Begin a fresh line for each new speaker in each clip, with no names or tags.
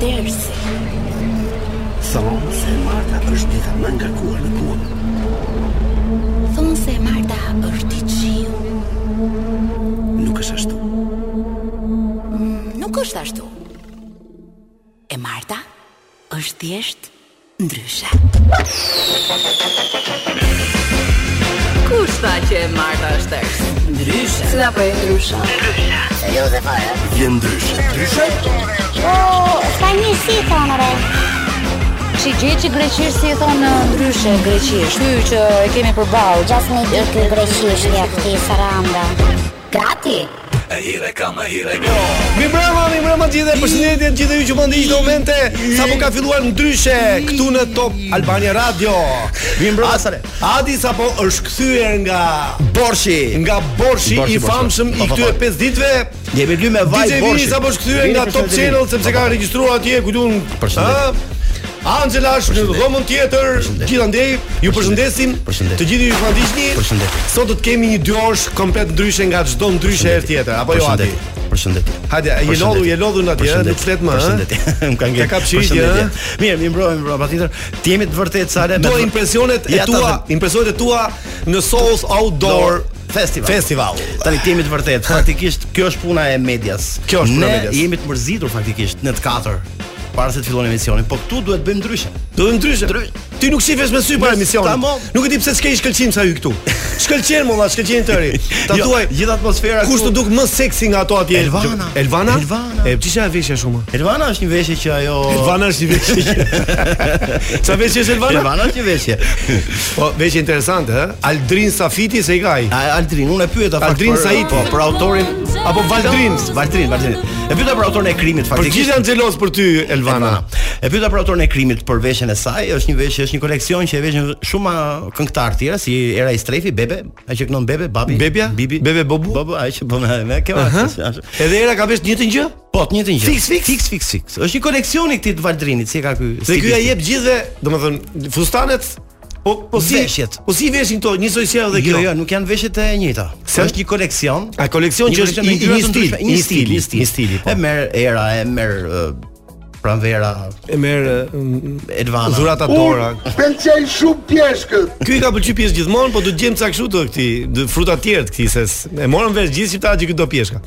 dersi.
Thonë se Marta është dita më ngarkuar në punë.
Thonë se Marta është i qiu.
Nuk është ashtu.
Nuk është ashtu. E Marta është thjesht ndryshe.
Kush tha që e Marta është tërës? Ndryshe. Cila po e ndryshe?
Vjen ndryshe. Ndryshe?
Ka Po, një si thonë re
Shi gjeçi greqisht si e thonë ndryshe greqisht. Ky që e kemi përballë.
Gjas me i ky greqisht ja këti saranda Gati
E hire kam, e hire kam.
Mi mbrëma, mi mbrëma gjithë dhe përshëndetje të gjithë ju që më ndiqni në momente sapo ka filluar ndryshe këtu në Top Albania Radio. Mi mbrëma Sare. Adi sapo është kthyer nga
Borshi.
nga
Borshi,
borshi i
borshi.
famshëm
Po,
i
po,
këtyre
po.
5 ditëve.
Jemi ly me vaj
DJ Vini
Borshi.
sapo është kthyer
Vini
nga Top
përshëndetje.
Channel sepse ka regjistruar atje ku diun.
Përshëndetje.
ë, Angela është në dhomën tjetër.
Përshëndetje.
Gjithandej ju përshëndesim.
Përshëndetje.
Të gjithë ju që na ndiqni.
Përshëndetje.
Sot do të kemi një dy orësh komplet ndryshe nga çdo ndryshe herë tjetër, apo jo Adi?
Përshëndetje. Përshëndetje.
Hajde, je
Përshëndetje.
lodhu, je lodhu në atje,
Përshëndetje.
nuk flet më, ë?
Përshëndetje. Më ka ngjerë.
Ka kap shihje,
Përshëndetje. Mirë, mi mbrojmë, mbrojmë patjetër. Ti jemi të vërtet sale
Do impresionet e
Ja, ta
tua,
them.
impresionet e tua në Souls Outdoor
Festival.
Festival.
Tani kemi të vërtet, faktikisht kjo është puna e medias.
Kjo është puna e medias.
Ne jemi të mërzitur faktikisht në të katër para se të fillon emisionin, po këtu duhet bëjmë ndryshe.
Do të ndryshe. Ti nuk shifesh me sy para
Mos,
emisionit.
tamam.
Nuk e di pse s'ke i shkëlqim sa hy këtu. Shkëlqen molla, shkëlqen tëri. Ta
Jo,
thuaj
gjithë atmosfera
kush të duk më seksi nga ato atje?
Elvana.
Elvana?
Elvana.
E çisha e veshja shumë.
Elvana është një veshje që ajo
Elvana është një veshje. Sa veshje është Elvana?
Elvana është një veshje.
Po, veshje interesante, ë? Aldrin Safiti se i ka ai.
A Aldrin, unë e pyeta fakt
Aldrin
për-
Said.
po për autorin Jo,
Apo Valdrin.
Valdrin, Valdrin. E pyeta për autorin e krimit
Për
faktikisht.
gjithë janë xhelos për ty Elvana.
Elvana. E pyeta për autorin e krimit për veshjen e saj, është një veshje, është një koleksion që e veshin shumë a, këngëtar të tjerë si Era i Strefi, Bebe, ai që kënon Bebe, Babi,
Bebja?
Bibi,
Bebe Bobu?
Bobu, ai që bën me kjo. ashtu.
Edhe era ka vesh një të gjë?
Po, të njëjtën gjë.
Fix, fix?
fix, fix, fix. Është një koleksion i këtij të Valdrinit, si e ka ky.
Dhe ky ja
stilisti.
jep gjithëve, domethënë fustanet Po po si
Veshjet.
Po si veshin këto, njësoj si ajo dhe
Jo,
kjo.
jo, nuk janë veshjet e njëjta.
Se-
është një koleksion.
A koleksion
Një
që është
koleksion me
i- i
ngjyra
një
të
stil,
ndryshme, një stil, një stil,
një stili, po.
E merr era, e merr ë, pranvera,
E merr
Elvana.
dhurata dora.
Pëlqej shumë pjeshkët.
Po Ky i ka pëlqyer pjesë gjithmonë, po do të gjem ca kështu të këtij, dë- fruta të tjera të këtij se s- e morën vesh gjithë shqiptarët që këto pjeshka.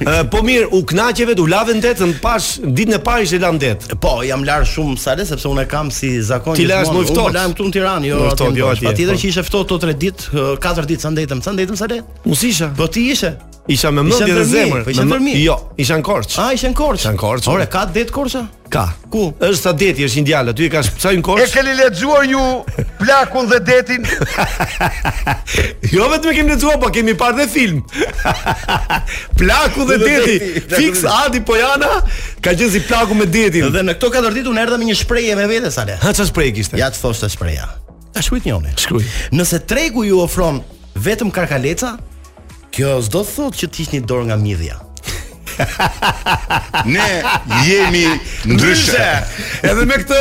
Ë, po mirë, u knaqeve, u lave ndetën, pash ditën e parë ishte la ndet.
Po, jam lar shumë sale sepse unë e kam si zakon
Ti lash
gjithmonë.
më i ftohtë.
Unë po lam këtu në Tiranë, jo.
Më ftohtë,
atje
jo
në
atje,
Bosh. Patjetër
po.
që ishe ftohtë to 3 ditë, ë, 4 ditë sa ndetëm, sa ndetëm sale.
Mos isha.
Po ti ishe.
Isha me
Isha
mendje dhe
ndërmi,
zemër.
po isha
me më-
ndërmi.
Jo, isha në Korçë.
A ishe në Korçë?
Isha në Korçë,
Ore,
unë.
ka det Korça?
Ka.
Ku?
Është sa deti, është një djalë, aty e ka sa në
E
Korçë.
keni lexuar ju plakun dhe detin?
Jo vetëm e kemi lexuar, po kemi parë dhe film. plaku dhe deti. Fix Adi Pojana ka qenë si plaku me detin.
Dhe në këto 4 ditë unë erdha me një shprehje me vete sale.
Ha çfarë sprej kishte?
Ja të thoshte shpreha. Ta shkruajt njëri.
Shkruaj.
Nëse tregu ju ofron vetëm karkaleca, kjo s'do të thotë që të hiqni dorë nga midhja.
Ne jemi ndryshe.
Edhe me këtë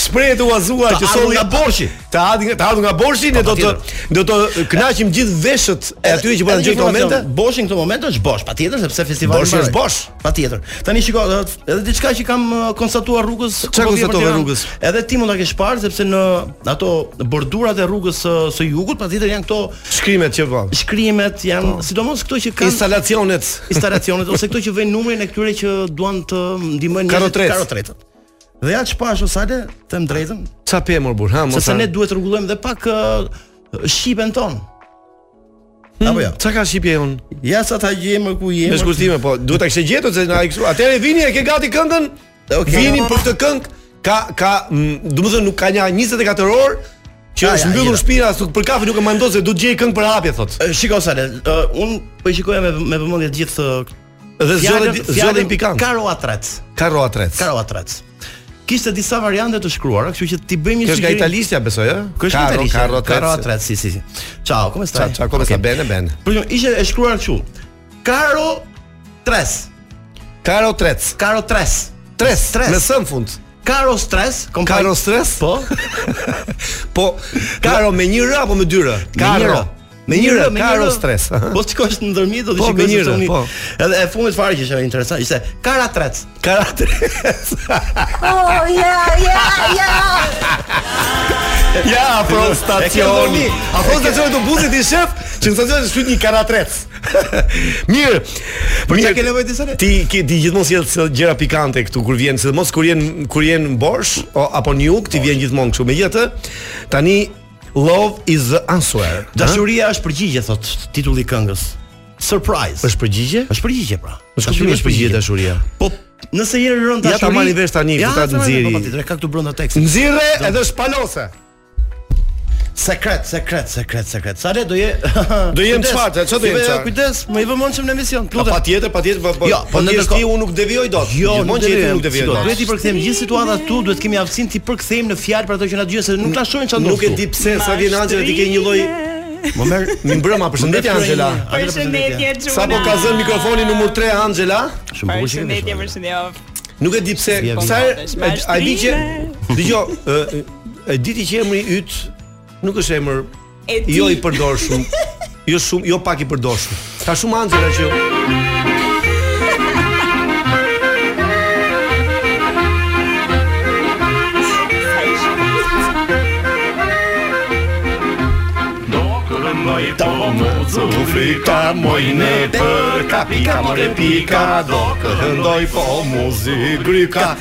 shprehje të uazuar
Të
që
ardhur
solli
nga borshi.
Të ardhur të ardhur nga borshi ne do të do të kënaqim gjithë veshët e atyre që po na
Edhe
gjejnë këto
informacion,
momente.
Boshi në këto momente është bosh, patjetër sepse festivali
Boshi është
mbaroi.
bosh.
Patjetër. Tani shiko, edhe- edhe diçka që kam uh, konstatuar rrugës. ku
Çfarë
po vjen për
konstatove
Tiranë,
rrugës?
Edhe ti mund ta kesh parë sepse në ato bordurat e rrugës uh, së jugut, patjetër janë këto
Shkrimet që po.
shkrimet, janë sidomos këto që kanë
Instalacionet.
instalacionet ose këto që vëjnë numrin e këtyre që duan të ndihmojnë njerëzit-
Karotrecët.
karotrecët. Dhe janë shpash osale, them drejtën,
Ça pe mor burr, ha mos.
sepse ne duhet të rregullojmë edhe pak ë, shipen ton. Apo jo.
Ça ka shipje unë?
Ja sa ta gjejmë ku jemi.
Me shkurtime, po, duhet ta kishte gjetur se na ai kështu. Atëherë vini e ke gati këngën?
Okej.
Vini për këtë këngë ka ka, mm, do të thënë nuk ka një 24 orë që
Ah,
është
ja,
mbyllur
jeta.
shtëpia as nuk për kafe nuk e mendon se do të gjej këngë për hapje thotë.
Ë, Shiko Sale, ë, un po i shikoja me me vëmendje të gjithë ë,
Dhe
fjalën-
zgjodhi zgjodhi
fjalën
pikant.
Karoatrac.
Karo atrec.
Karoatrac. Kishte disa variante të shkruara, kështu që ti bëjmë një
Kjo është nga
sugjerim.
italishtja besoj, ë?
Kjo është
Karo,
italisht.
Karo atrec.
Karoatrac, si si. si. Ciao, come stai?
Ça ça come sta bene bene.
Për shumë, ishte e shkruar kështu. Karo 3.
Karo atrec.
Karo 3.
Tres,
Tres.
me së në fund.
Karo stres, kompani.
Karo stres?
Po.
Po, karo me një r apo me dy r?
Karo.
Me një r, ka Aerostres.
Po shikosh në ndërmjet do të
Po, me
shikosh
një r,
se
po.
Edhe e fundit fare që ishte interesant, ishte Karatrec.
Karatres.
Oh, ja, ja, ja.
Ja, afro
stacioni.
Afro stacioni të busit i shef, që në stacion shfryt një Po karatrec. Mirë. Për
çka ke nevojë disa ne?
Ti ke ti gjithmonë sjell si gjëra pikante këtu kur vjen, sidomos kur jen kur jen në borsh o, apo në jug, ti vjen gjithmonë kështu. Megjithatë, tani love is the answer.
Dashuria është përgjigje thot titulli i këngës. Surprise.
Është përgjigje?
Është përgjigje pra.
Është kuptimi është përgjigje dashuria.
Po nëse je rënë
Ja,
dashuri.
ta marrin vesh tani,
Ja,
ku ta
ta marrin,
nxjerri.
po, patjetër, e ka këtu brenda tekstit.
Nxirre edhe shpalose.
Sekret, sekret, sekret, sekret. Sa le do je?
Do jem
Kujdes,
çfarë, çfarë do
si
jem
be,
çfarë?
Kujdes, më i vëmendshëm në emision. Lutem.
Patjetër, patjetër,
Jo,
po. Jo,
po
po
në
thjesht
ndërkohë-
ti unë nuk devijoj dot.
Jo,
Gjithmonë që ti nuk devijoj
dot. Duhet
dot.
i përkthejmë gjithë situatën këtu, duhet kemi aftësinë ti përkthejmë në fjalë për ato që na dëgjojnë se nuk na shohin çfarë ndodh.
Nuk e di pse sa vjen Angela ti ke një lloj
Më merr
Mi mbrëma, përshëndetje Angela.
Përshëndetje Xhuna.
Sapo ka zënë mikrofonin numër 3 Angela.
shumë bukur që
Përshëndetje, përshëndetje.
Nuk e di pse
Si e
sa
vjen?
herë- e- ai di që dëgjoj, ë, e di ti që emri yt nuk është emër
E di.
jo i përdorshëm. Jo shumë, jo pak i përdorshëm. Ka shumë Angela që
Muzika mojne përka pika more pika do këndoj po muzikë gryka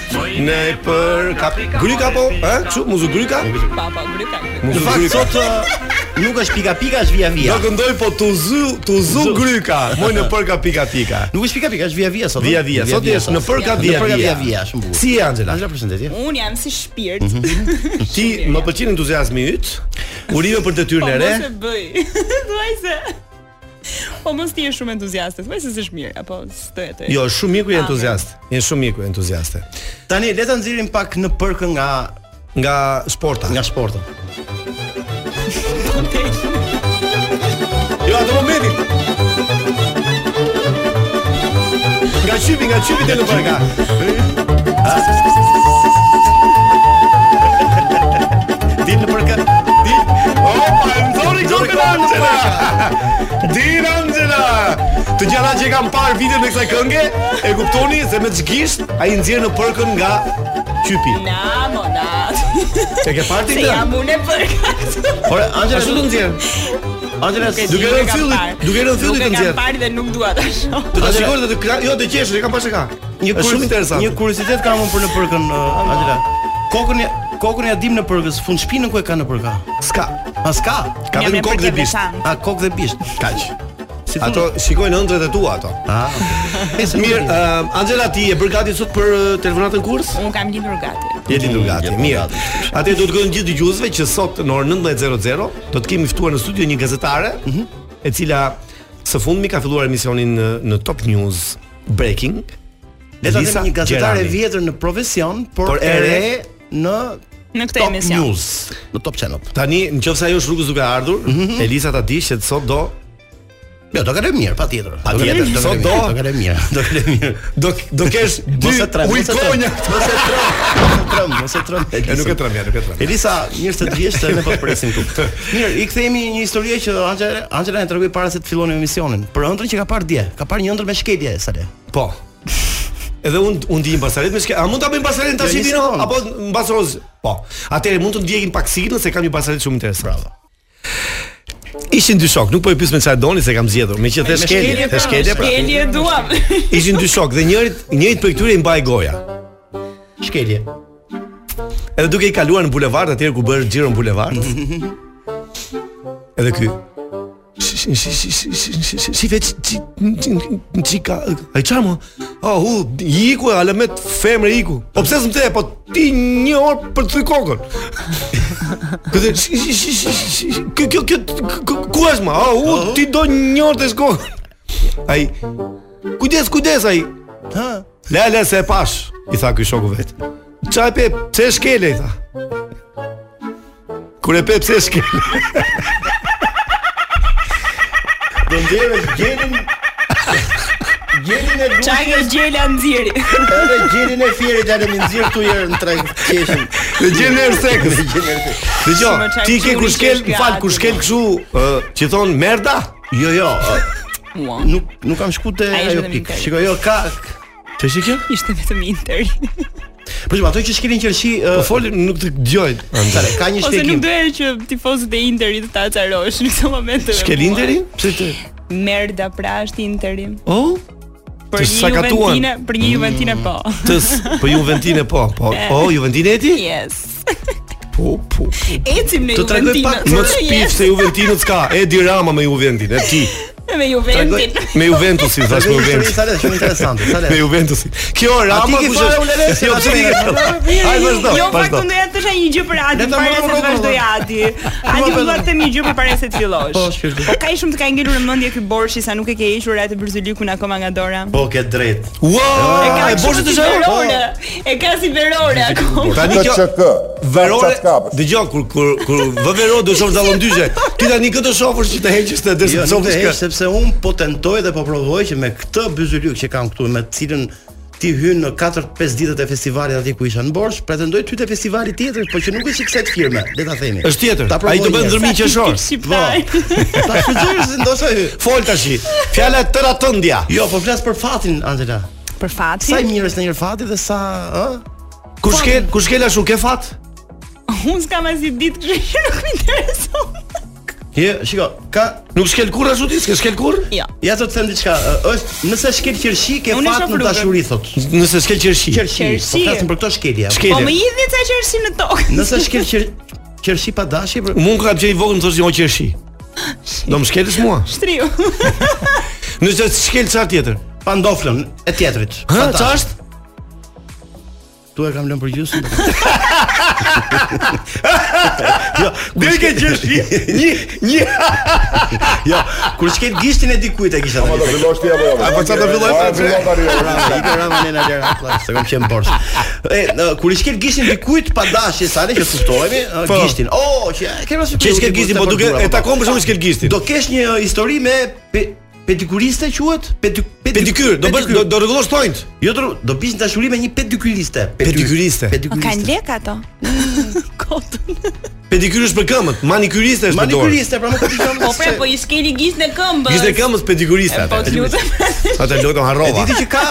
ne për ka gryka po, ë? Çu muzu gryka?
Papa, gryka.
Në
Muzu
fakt
gryka.
sot ë, nuk është pika pika, është via
Do
via.
këndoj po tu zu, tu zu gryka. Moj në për ka pika pika.
Nuk është pika pika, është via via sot.
Via via, sot jesh në përka
Në
via
përka via
via.
via, shumë bukur.
Si je, Angela?
Angela përshëndetje.
Unë jam si shpirt.
Mhm. Ti më pëlqen entuziazmi yt. Urime për
Po
detyrën e re.
mos e bëj. Thuaj se Po mos ti je shumë entuziaste. Thuaj se s'është mirë apo s'të e të.
Jo, është shumë miku i entuziast. Janë shumë miku i entuziaste.
Tani le ta nxjerrim pak në përkë nga
Nga sporta.
nga sporti.
Jo, atë momentin. Nga qypi, nga qypi deri në përka.
Dil në përkë.
Opa, e më thoni këto me Angela. Din Angela. Të gjëra që kam parë videon e kësaj kënge, e kuptoni se me çgisht ai nxjerr në përkën nga qypi.
Na, mo, na.
E ke parë ti
Se jam
këtë?
unë e për këtë.
Por Angela
Ashtu do nxjerr.
Angela
Nuk e di,
Duke
nuk e
rënë
kam
fillit,
parë.
duke rënë fillit të
Nuk e kam
nxjerr.
parë dhe nuk dua ta shoh.
Të ta shikosh dhe të kra- jo të qesh, e kam pasë ka.
Një
Është shumë interesant.
Një kuriozitet kam unë për në përkën uh, Angela. Kokën ja kokën ja dim në përkës, fund shpinën ku e ka në përka.
S'ka.
A s'ka?
Ka
Jam
vetëm
e
kokë dhe
përkë
bisht.
veçantë.
A kokë dhe bisht. Kaq. Si
Ato shikojnë ëndrrat e tua ato.
Ah.
Mirë, uh, ëm, Angela ti e bër gati sot për uh, telefonatën kurs?
Unë kam lindur gati.
Je lindur gati. Mirë. Atë do të gënjë gjithë dëgjuesve që sot në orën 19:00 do të kemi ftuar në studio një gazetare,
Mhm.
e cila së fundmi ka filluar emisionin në, në Top News Breaking.
Le ta
Lisa
them një gazetare
Gjerani.
e vjetër në profesion, por,
Por
e
e
re
re
në
Në këtë
Top
emision.
News, në Top Channel.
Tani, nëse ajo është rrugës duke ardhur,
Mhm.
Elisa ta di që sot do
Jo, do kalojmë mirë, patjetër.
Patjetër,
do
sot
kalojmë
do-
mirë, do kalojmë mirë. Do kalojmë mirë.
do do kesh dy
Mos e trem, mos e trem.
ujkonja.
Mos e trem, mos e trem, mos e trem.
E nuk e trem, ja, nuk e trem.
Elisa, mirë se të vjesh, se ne po të presim këtu. Mirë, i kthehemi një histori që Angela Angela na tregoi para se të fillonim emisionin. Për ëndrrën që ka parë dje, ka parë një ëndër me shketje sale.
Po. Edhe unë unë di një basaret me shke. A mund ta bëjmë basaretën tash
Jo,
i
një
vino
sekondë.
apo mbas roz? Po. Atëherë mund të ndjekim pak signën se kam një basaret shumë interesante. Bravo. Ishin dy shok, nuk po e pyes me çfarë doni se kam zgjedhur. Me që the shkelje, the shkelje pra.
Shkelje duam.
Ishin dy shok dhe njërit, njërit për këtyre i mbaj goja.
Shkelje.
Edhe duke i kaluar në bulevard atëherë ku bën xhiro në bulevard. Edhe ky Si si si si si si si veç çika ai çamo oh u i iku ala me femër iku po pse s'm the po ti një orë për të thyr kokën këtë kjo kjo kjo ku është ma oh u ti do një orë të shkon ai kujdes kujdes ai
Ha.
Le le se e pash, i tha ky shoku vet. Çaj pe, pse e shkele i tha. Kur e pe pse e shkele.
Do ndjeresh gjenin Gjelin e
Çaj
grushit
nga gjela nxjeri.
Edhe gjelin e fjerit janë në nxirr këtu herë në treg qeshin.
Dhe gjen në erë sekës.
Në gjelin e sekës.
Dëgjoj,
Shumë çaj
ti ke
quri
kur shkel,
që është
më fal,
gati, po.
kur shkel kështu, ë, që thon merda?
Jo, jo. ë,
Mua.
Nuk nuk kam shku te
Ai është
ajo
vetëm
pikë.
internet.
Shikoj, jo ka Të shikë?
Ishte vetëm inter.
Po që ato që shkelin qershi,
Po
ë,
fol nuk të dëgjoj.
tare, ka një
Ose nuk
shpjegim.
doja që tifozët e Interit të ta acarosh në këtë moment.
Shkel Interin? Pse ti?
Merda pra është Interi.
Oh?
Për
Të
një
sakatuan.
Juventine, për një Juventine po.
Të s- po Juventine po, po. O Juventine e ti?
Yes.
Po, po. po.
Ecim në
Të tregoj
Juventinën.
pak
Më të shpif se Juventinët s'ka. Edi Rama me Juventin, e ti.
me Juventin.
Me Juventusin, thash me Juventusin.
Sa le, shumë interesante. Sa
Me Juventusin. Kjo Rama
ke
kush
fare
është?
ulereshe,
Jo, pse ti ke? Ai vazhdo,
Jo, fakt
vazhdo.
unë doja të thësha një gjë për Adin
Leta
para
më
se të
rrotull,
vazhdoj
po.
Adi. Adi më dua të them një gjë për para se të fillosh.
Po, shpjegoj.
Po ka i shumë të ka ngelur në mendje ky borshi sa nuk e ke hequr atë bërzylikun akoma nga dora.
Po ke drejt.
Wow,
E ka
e boshët
si
është ajo?
verore.
po.
E ka si verore akoma.
Tani kjo verore, dëgjoj kur kur kur vë verore do shoh dallon dyqe. Ti tani këtë shofësh që të heqësh të
Jo,
derisa të
nuk të
shohësh
hesh
kë.
sepse un po tentoj dhe po provoj që me këtë byzylyk që kam këtu me të cilën ti hyn në 4-5 ditët e festivalit atje ku isha në Borsh, pretendoj ty te festivali tjetër, po që nuk është i kësaj të firme, le ta themi.
Është tjetër.
Ta provoj
Ai do bën
njerë.
ndërmi qeshor.
Shqiptar.
Po.
Ta shfrytëzosh se ndoshta hy.
Fol tash. Fjala tëra tëndja.
Jo, po flas për fatin, Angela.
Për
Sa i
fatin,
mirë është ndonjëherë fati dhe sa, ë?
Kur shkel, kur shkel ashtu ke fat?
unë s'kam asnjë ditë kështu që nuk më intereson.
Je, shiko, ka
Nuk shkel kur ashtu ti, s'ke shkel kur?
Jo.
Ja do të them diçka, ë, është nëse shkel qershi ke
Unë e
fat
shoh
në
rrugën.
dashuri thot.
Nëse s'kel qershi.
Qershi, po
Qershi.
flasim për këto shkelje.
Po më
Shkel.
hidhni ca qershi në tokë.
Nëse shkel qer- qershi pa dashje, për-
Mun ka gjej vogël më thosh jo qershi. Do më shkelësh mua.
Shtriu.
Nëse shkel çfarë tjetër?
pa ndoflën e tjetrit.
Hë,
Pa dashje.
çfarë është?
Tu e kam lënë për gjysmë. jo,
Deri ke qershi. Një, një.
Jo, kur shkel gishtin e dikujt e kisha
do
tani.
fillosh ti apo jo?
A, po sa do fillosh
A,
ti?
fillon tani.
Bravo, i kam rënë në lera plas, se kam qenë borx. E në- kur i shkel gishtin dikujt pa dashje sa ne që kuptohemi, e,
Po.
gishtin. Oh, që e ke rasti.
Që shkel gishtin, po duke e takon për shkak të shkel gishtin.
Do kesh një histori me pe, pedikuriste quhet? Pedi, pedi-
Pedikyr, do bësh do, do rregullosh tojnt.
Jo, do, do bish në dashuri me një pedikyriste.
Pedikyriste.
Kan
Pedikyriste.
lek ato. Kotën.
Pedikyr është për këmbët, manikyriste është për dorë.
Manikyriste, pra më kupton.
Po pre, po i skeli gishtë në këmbës.
Gishtë e këmbës pedikuriste.
Po të lutem.
Ata lotëm
E
harrova.
diti që ka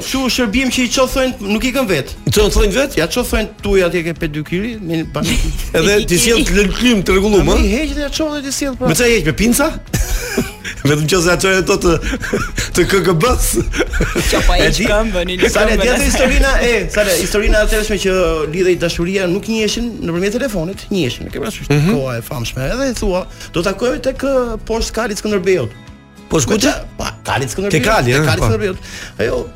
kështu shërbim që i qof thonë nuk i kanë vet.
Ço thonë vet?
Ja qof thonë tu atje ke pedykyri, me bashkë.
Edhe ti sjell të lëklim të rregullum,
Më i
ë?
heq dhe ja qof dhe ti sjell
Me
pra.
çfarë jeq me pinca? Vetëm qose ato janë ato të të KGB-s.
Që po
E
e
di-
që këmbën, i
Sa ne
lëkëmbën.
tjetër historina e, sa ne historina e atërshme që lidhej dashuria nuk njiheshin nëpërmjet telefonit, njiheshin. Ke parasysh
Mhm.
koha e famshme. Edhe i thua, do takohemi tek ë, poshtë Kalit Skënderbeut.
Po
Ku
shkuçi?
Pa, Kalit Skënderbeut.
Te Kali,
te
ëh,
Kali
po.
Skënderbeut. Ajo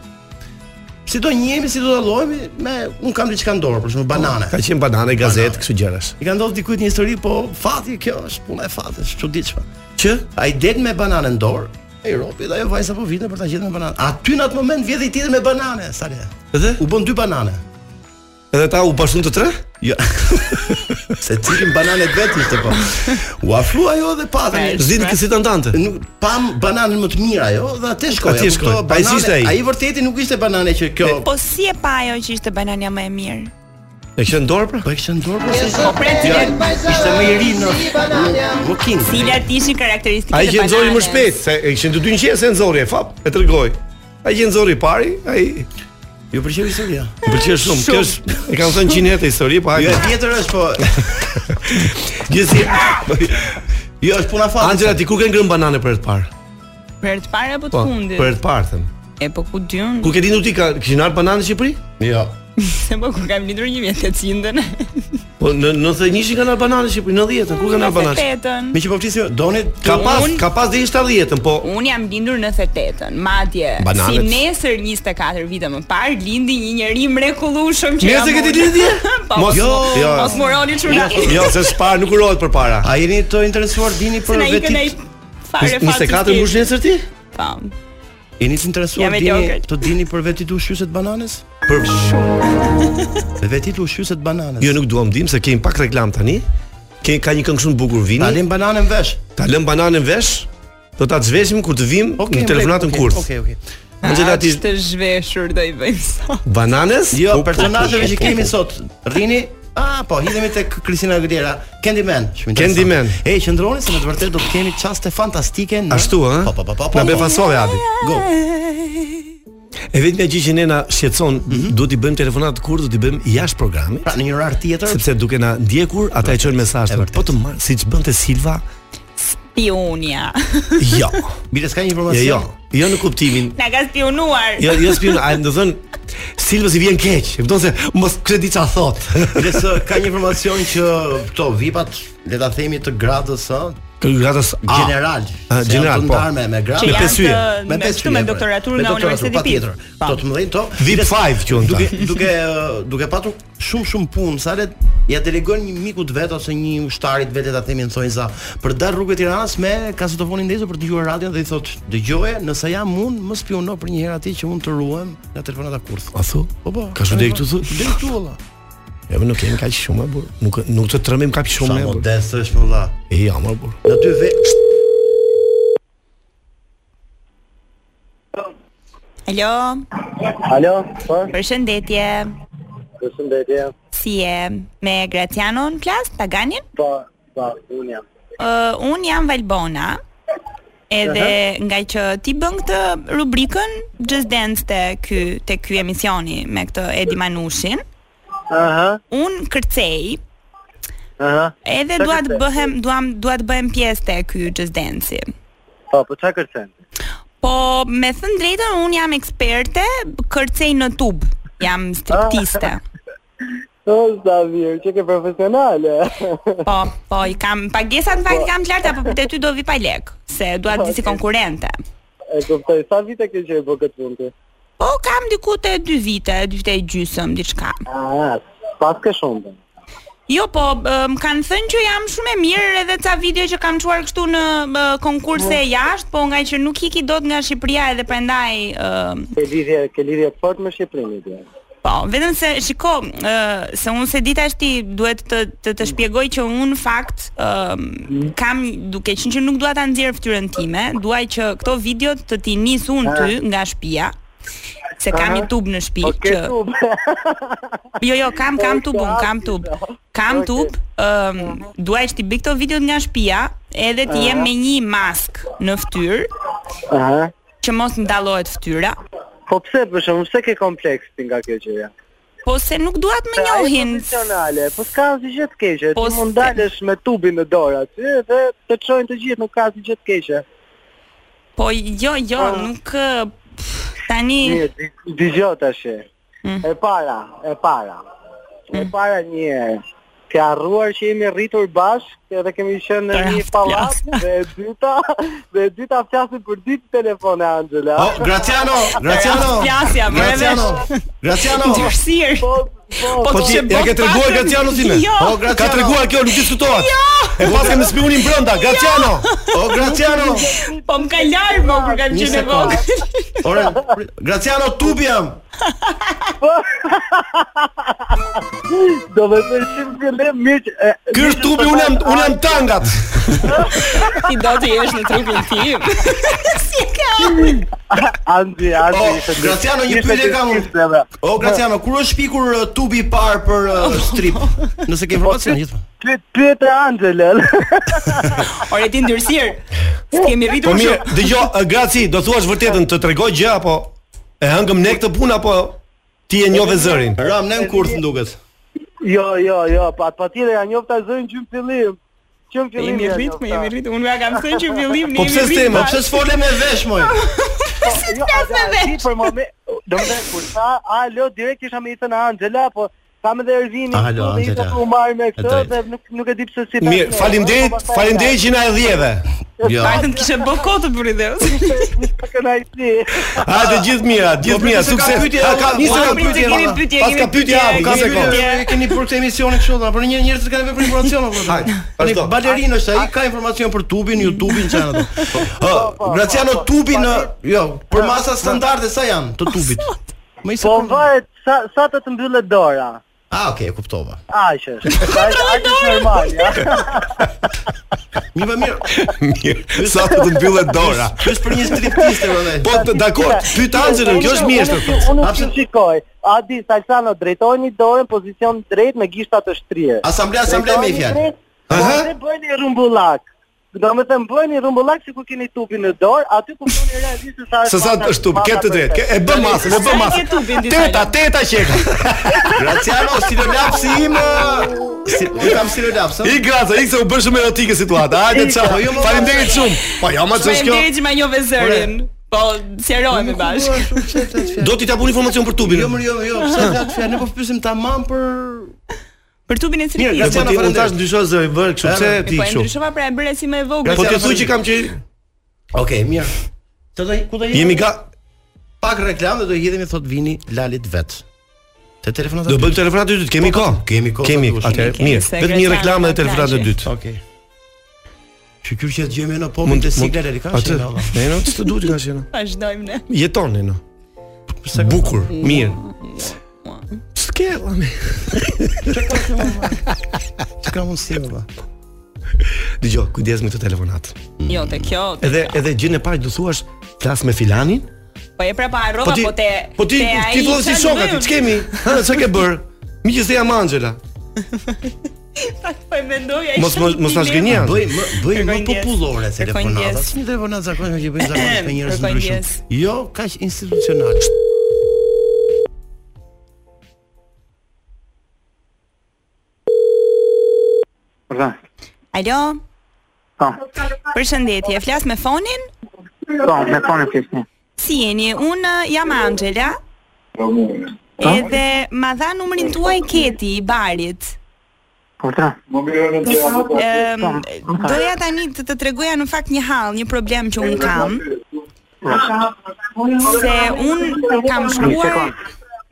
Si do njihemi, si do dallohemi, me un kam diçka në dorë, për shembull banane.
Po, Ka qenë banane, gazetë, kështu gjërash.
I ka ndodhur dikujt një histori, po fati kjo është puna e fatit, është çuditshme. Që ai del me bananën në dorë, e i ropi dhe ajo vajza po vinte për ta gjetur me bananën. Aty në atë moment vjedhi tjetër me banane, sa le.
Edhe
U bën dy banane.
edhe ta u bashkun të tre?
Jo. Se cilin bananet vetë ishte po. U afrua ajo dhe patën.
Zin kësi të ndante.
Nuk pam bananën më të mirë ajo dhe atë shkoi.
Atje shkoi. Pa, ai si ishte ai?
Ai vërteti nuk ishte banane që kjo.
Po si e pa ajo që ishte banania më e mirë?
E kishën dorë pra?
Po e kishte në dorë po se.
Po pre cilat,
Ishte më i ri në më king.
cilat ishin
Ai
karakteristikat
që
e bananës?
nxori më shpejt, se e kishin të dy ngjese nxori e fap, e tregoj. Ai që nxori pari, ai
Ju pëlqeu historia.
më pëlqeu shumë. Kjo është e kam thënë 100 herë të histori, po
Jo,
hajde.
e tjetër është po
Gjithsesi,
Jo, është puna fatit.
Angela ti kur ke ngrënë banane për herë të parë?
Për të parë apo
Po,
të fundit?
për herë të parë them.
E po ku dyn,
Kur ke lindur ti ka kishin ardhur banane në Shqipëri?
Jo.
se po kur kam lindur 1800-ën.
Po në 91-shin kanë ardhur banane në Shqipëri, 90-ën, kur kanë ardhur banane?
98-ën.
Me që po flisim, doni
Ka pas,
Unë-
ka pas deri 70-ën, po
Un jam lindur në 98-ën, madje
Bananet.
si nesër 24 vite më parë lindi një njeri mrekullueshëm që
Mirë se ke ti lidhje?
Mos
Jo,
jo,
jo.
mos moroni çuna.
Jo, se s'par nuk urohet përpara.
A jeni të interesuar dini
Se
për
na
jo,
ikën ai
vetit?
fare Po. fat.
24 mbush nesër ti?
Pam.
Jeni të interesuar
Jam e
dini
djogël.
të dini për vetit ushqyse të bananës? Për Për vetit ushqyse të bananës.
Jo, nuk duam dim se kemi pak reklam tani. Ke ka një këngë shumë bukur vini.
Ta lëm bananën vesh.
Ta lëm bananën vesh, do ta zhvesim kur të vim
Okej,
në telefonatën
okej,
kurth.
Okej, okej.
Angela ti
Të zhveshur do i bëjmë sot.
bananes?
Jo,
U-
personazheve që kemi sot. Rrini, ah, po, hidhemi tek Christina Aguilera, Candyman. shumë interesant.
Candyman.
E qëndroni se në të vërtetë do të kemi çaste fantastike në
Ashtu, ë?
Po, po, po, po. po.
Na befasove Adi.
Go.
E vetmja gjë që ne na shqetëson,
Mhm.
duhet i bëjmë telefonat kur do t'i bëjmë jashtë programit,
Pra në një orar tjetër,
sepse duke na ndjekur, ata i çojnë mesazh.
E vërtet.
Po të marr, siç bënte Silva?
Pionia.
Jo.
bile s'ka një
Jo,
informacion.
jo. Jo në kuptimin
Na ka spionuar.
Jo, jo spion, a do thon Silvës i vjen keq. E kupton se mos kë di çfarë thot.
Bile s'ka ka një informacion që këto vipat, le ta themi të gradës, ë,
Ky gratas A.
general.
A,
se
Ah. general,
janë të
po.
ndarme me gradë.
Që
Me
janë
pesë yje.
të-
me
me
pesë
këtu me
yje, po.
doktoratur nga
Me doktoratur,
Universiteti Po. Pit.
patjetër. Të të mëdhenj to.
VIP 5 që unë
Duke
ta.
duke duke patur shumë shumë punë, sa le ja delegojnë një miku të vet ose një ushtarit vetë ta themin thonjë za për dal rrugët e Tiranës me kasetofonin ndezur për të dëgjuar radion dhe i thot dëgjoje nëse jam unë më spiono për një herë aty që unë të ruhem nga telefonata kurth.
A thu?
Po po.
Ka shumë deri këtu thu?
Deri këtu valla.
Jo, më nuk kemi kaq shumë, bur. Nuk nuk të tremim kaq
Sa
shumë, bur.
modest është më valla.
Jo, më bur.
Në dy ve
Alo,
Alo, po,
përshëndetje.
përshëndetje.
Si je? Me Graciano në klasë, Paganin?
Po, po, unë jam.
Uh, unë jam Valbona. Edhe nga që ti bën këtë rubrikën Just Dance te ky te ky emisioni me këtë Edi Manushin,
Aha,
un kërcej
aha.
edhe
Sa
dua të
kërcej?
bëhem duam dua të bëhem pjesë te ky Just Dance.
Po, po çfarë kërcen?
Po me thënë drejtën un jam eksperte, kërcej në tub. Jam striptiste.
O, Po, Zavir, që ke profesionale.
Po, po i kam pagesat në fakt i kam të larta, po te ty do vi pa lek, se dua të vi si konkurrente.
E kuptoj, sa vite ke që e bë këtë punë ti?
Po kam diku te 2 vite, 2 vite e gjysmë diçka.
Ah, pas ke shumë. bën.
Jo, po ë, më kanë thënë që jam shumë e mirë edhe ca video që kam çuar këtu në ë, konkurse e jashtë, po nga që nuk hiki dot nga Shqipëria edhe prandaj ë,
Ke lidhje, ke lidhje të fortë me Shqipërinë ti.
po, vetëm se shiko, ë, se unë se di tash ti duhet të të, të shpjegoj që unë në fakt ë, kam duke qenë që nuk dua ta nxjerr fytyrën time, dua që këto video të ti nis unë ty nga shtëpia se kam një tub në shtëpi
Ke
Po që
tub.
Jo, jo, kam kam tub, un kam tub. Kam
Okej.
tub. Ëm, duaj që ti bëj këto videot nga shtëpia, edhe ti jem me një mask në fytyrë
Aha.
që mos ndallohet fytyra.
Po pse për shkakun pse ke kompleks ti nga kjo gjëja?
Po se nuk dua të më
Se ajo
njohin.
Profesionale, po s'ka asgjë gjë të keqe.
Po
ti mund
se-
dalësh me tubin në dorë aty dhe të çojnë të gjithë, nuk ka asgjë gjë të keqe.
Po jo, jo, nuk ë, pff, tani
Mirë, di- dëgjoj tash. E para, e para. E para një herë. Ke harruar që jemi rritur bashkë edhe kemi qenë në një
Rast,
pallat dhe e dyta dhe e dyta flasim për ditë telefon e Angela.
Oh, Graciano, Graciano.
Flasja, më e
Graciano. Graciano.
dyrsir.
Po, po,
Po
të
ti
se
ja
bën
ke treguar
patën?
Graciano ti ne?
Jo.
Po Graciano. Ka treguar kjo, nuk diskutohet. E pas kemi spionin brenda, Graciano.
Oh, Graciano.
Po më ka larë më kur kam
Një
qenë e
sekond.
vogël.
Ore, Graciano tubi jam.
do të bëj shumë gëllim miq. e,
Ky është tubi, unë jam unë jam tangat.
Ti do të jesh në trupin tim. si e ke ardhur?
Andi, Andi.
Oh,
ishte-
Graciano, një
ishte
pyetje kam unë.
diskutim, bra.
O Graciano, kur është pikur uh, tubi i parë për uh, strip? Nëse ke informacion
Po,
gjithmonë.
Pyet pyet e Angelën.
Ore ti ndyrësir. S'kemi
Po
rritur
mirë,
shumë.
dëgjoj, e, Graci, do thuash vërtetën, të tregoj gjë apo e hëngëm ne këtë punë apo ti e njove zërin?
Ram në kurth më duket.
Jo, jo, jo, pa patjetër ja njofta zërin gjym fillim. Gjym fillim.
Jemi
ja
rrit,
njofta.
jemi rrit. Unë ja kam thënë që fillim ne
Po
jemi
pse
rrit.
s'tema,
Po pse s'fole me vesh moj?
Jo,
me
a- a- ti Për moment, domethënë kur tha alo direkt isha me Ethan Angela, po kam edhe Ervinin
Alo,
këtu dhe isha
Angela.
po u marr me
E
këtë
drejtë.
dhe nuk nuk e di pse si ta.
Mirë, faleminderit, faleminderit që na e dhjeve.
Jo.
Vetëm kishe bë kotë për i
Po,
dheus.
Kënaqësi.
Hajde gjithë mira, gjithë mira,
pse ka
sukses.
pyetje,
Ha, ka
ua,
nisë ka
kemi
pyetje.
kemi
ma.
pyetje,
Pas
kemi
ka pyetje,
pyetje,
ha, ka
kemi
sekond.
pyetje.
Ne keni për këtë emisionin kështu, na për një njerëz që kanë vepër informacion apo.
Hajde,
Tani
vazhdo.
balerin është ai, ka informacion për tubin, YouTube-in çan ato. Ë, Graciano tubi në, jo, për masa standarde sa janë të tubit? Më i
Po
sekond.
varet sa sa të të mbyllet dora.
Ah, okay, e kuptova.
Aq është. Aq aq është normal, ja.
Mirë pa mirë.
Mirë, sa të të mbyllet dora.
Ky është për një striptiste prandaj.
Po, t- dakor, pyet Anxhelën, kjo është mjeshtër.
Unë- Unë unë s'ju shikoj. Adi Salsano drejtojni dorën pozicion drejt me gishtat të shtrirë.
Asamblea, asamblea me fjalë.
Aha. Ne bëni rrumbullak. Do me të bëni rrumbullak sikur keni tupin në dorë, aty kuptoni realisht se sa
Se sa
masa-
është tup,
masa
ke të drejtë. ke- E bën masën, e bën
Sa
masën.
ke tupin disa
Teta, teta qeka.
Graciano, stilo lapsi im. ë, Si, i kam stilo laps. ë.
I graca, i se u bën shumë erotike situata. Hajde
Ikra,
çao.
jo, më-
Faleminderit shumë. Po jo, ma ç'është kjo?
Faleminderit që ma njove zërin. Po, sjerohemi bashkë.
Do t'i japun informacion për tubin.
Jo, më jo, jo, pse fjalë fjalë, ne po pysim tamam për
Për tupin e
Mirë,
striptizit.
Graciano,
Po ti mund tash
faleminderit.
ndryshoj zëri, bën kështu pse
Erdhe.
E,
ti
Po e
kështu.
ndryshova pra e bëre si më e vogël.
Po ti
Graciano,
thuj që kam që
Okej, mirë. Të do ku do jemi?
jemi ga
pak reklam dhe do hidhemi thot vini Lalit vet. Te telefonat.
do bëjmë telefonat e dytë, kemi
Po,
kohë.
po, kemi kohë,
Kemi,
duhet.
atëherë
Kemi,
mirë.
se
Vetëm një
Graciano
reklamë
ka
dhe telefonat e
plazhe.
dytë.
Okej. Shqyr që gjejmë në popin te sigla Lali ka qenë
Atë,
valla.
ne no, ç'të duhet ka qenë.
Vazhdojmë ne.
Jeton ne no. Bukur, mirë. S'ke, lami.
Çka mundsi valla.
Dgjoj, kujdes me këtë telefonat.
Jo, te kjo. te
Edhe
kjo.
edhe gjën e parë do thuash flas me filanin?
Po e prapa harrova, po te
po ti
te ai
ti thua si
çfarë
shoka,
bëjmë?
ti ç'kemi? Ha, ç'a ke bër? Miqës e jam Angela.
Po e mendoj ai.
Mos mos
shumë
mos
dilema.
tash gënjen.
Bëj më bëj më
Kërkoj ndjes.
popullore
Kërkoj ndjes.
telefonata. Si një telefonat zakonisht që bëjnë zakonisht me njerëz
Kërkoj
ndryshëm.
ndjes.
Jo, kaq institucional.
Përsa?
Alo,
Po,
përshëndetje. Flas me fonin?
po, me fonin flisni.
Si jeni? Unë jam Angela.
Po.
Edhe ma dha numrin tuaj Keti i barit.
Po, tra.
Ëm
Po, po.
doja tani të të tregoja në fakt një hall, një problem që un kam. Se un kam
Një
shkuar
sekond.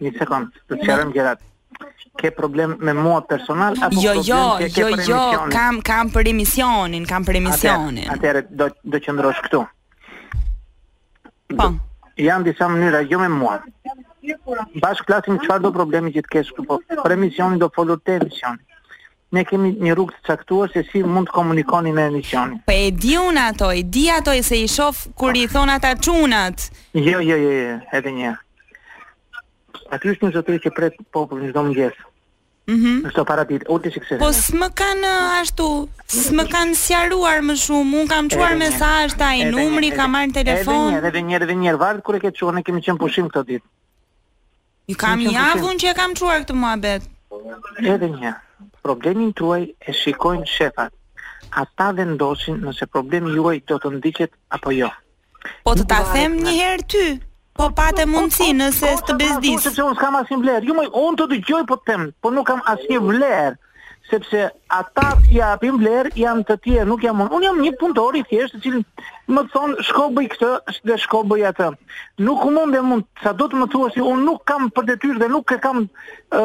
Një sekond, të çarëm gjërat. Ke problem me mua personal apo
Jo,
problem
jo,
që ke
jo,
për
jo,
emisionin?
kam kam për emisionin, kam për
Atëherë,
emisionin.
atëherë do do qëndrosh këtu.
Po.
Janë disa mënyra jo me mua. Bash klasim çfarë do problemi që të kesh këtu, po për emisionin do folur te emisioni. Ne kemi një rrugë të caktuar se si mund të komunikoni në emisionin.
Po e di unë ato, e di ato e se i shof kur i thon ata çunat.
Jo, jo, jo, jo, edhe një. herë. Aty është një zotëri që pret popullin çdo mëngjes. Mhm. Mm Çdo para ditë, ulti sikse.
Po s'më kanë uh, ashtu, s'më kanë sqaruar më shumë. Un kam çuar
Edhe një.
mesazh taj
Edhe
numri,
një,
kam marrë
Edhe
telefon.
një, edhe një, edhe një, vardë kur e ke çuar, ne kemi qenë pushim këto ditë.
Ju kam
Nuk jam
javën që e kam çuar këtë muhabet.
Edhe një, problemin tuaj e shikojnë shefat. Ata vendosin nëse problemi juaj do të ndiqet apo jo.
Po të ta them një herë ty. Po patë mundësi nëse s'të bezdis.
Sepse unë s'kam asnjë vlerë. Ju më unë të dëgjoj po të them, po nuk kam asnjë vlerë sepse ata që japin vlerë janë të tjerë, nuk jam unë. Unë jam një punëtor i thjeshtë, i cili më thon shko bëj këtë dhe shko bëj atë. Nuk mundem unë, sa do të më thuash se unë nuk kam për detyrë dhe nuk e kam ë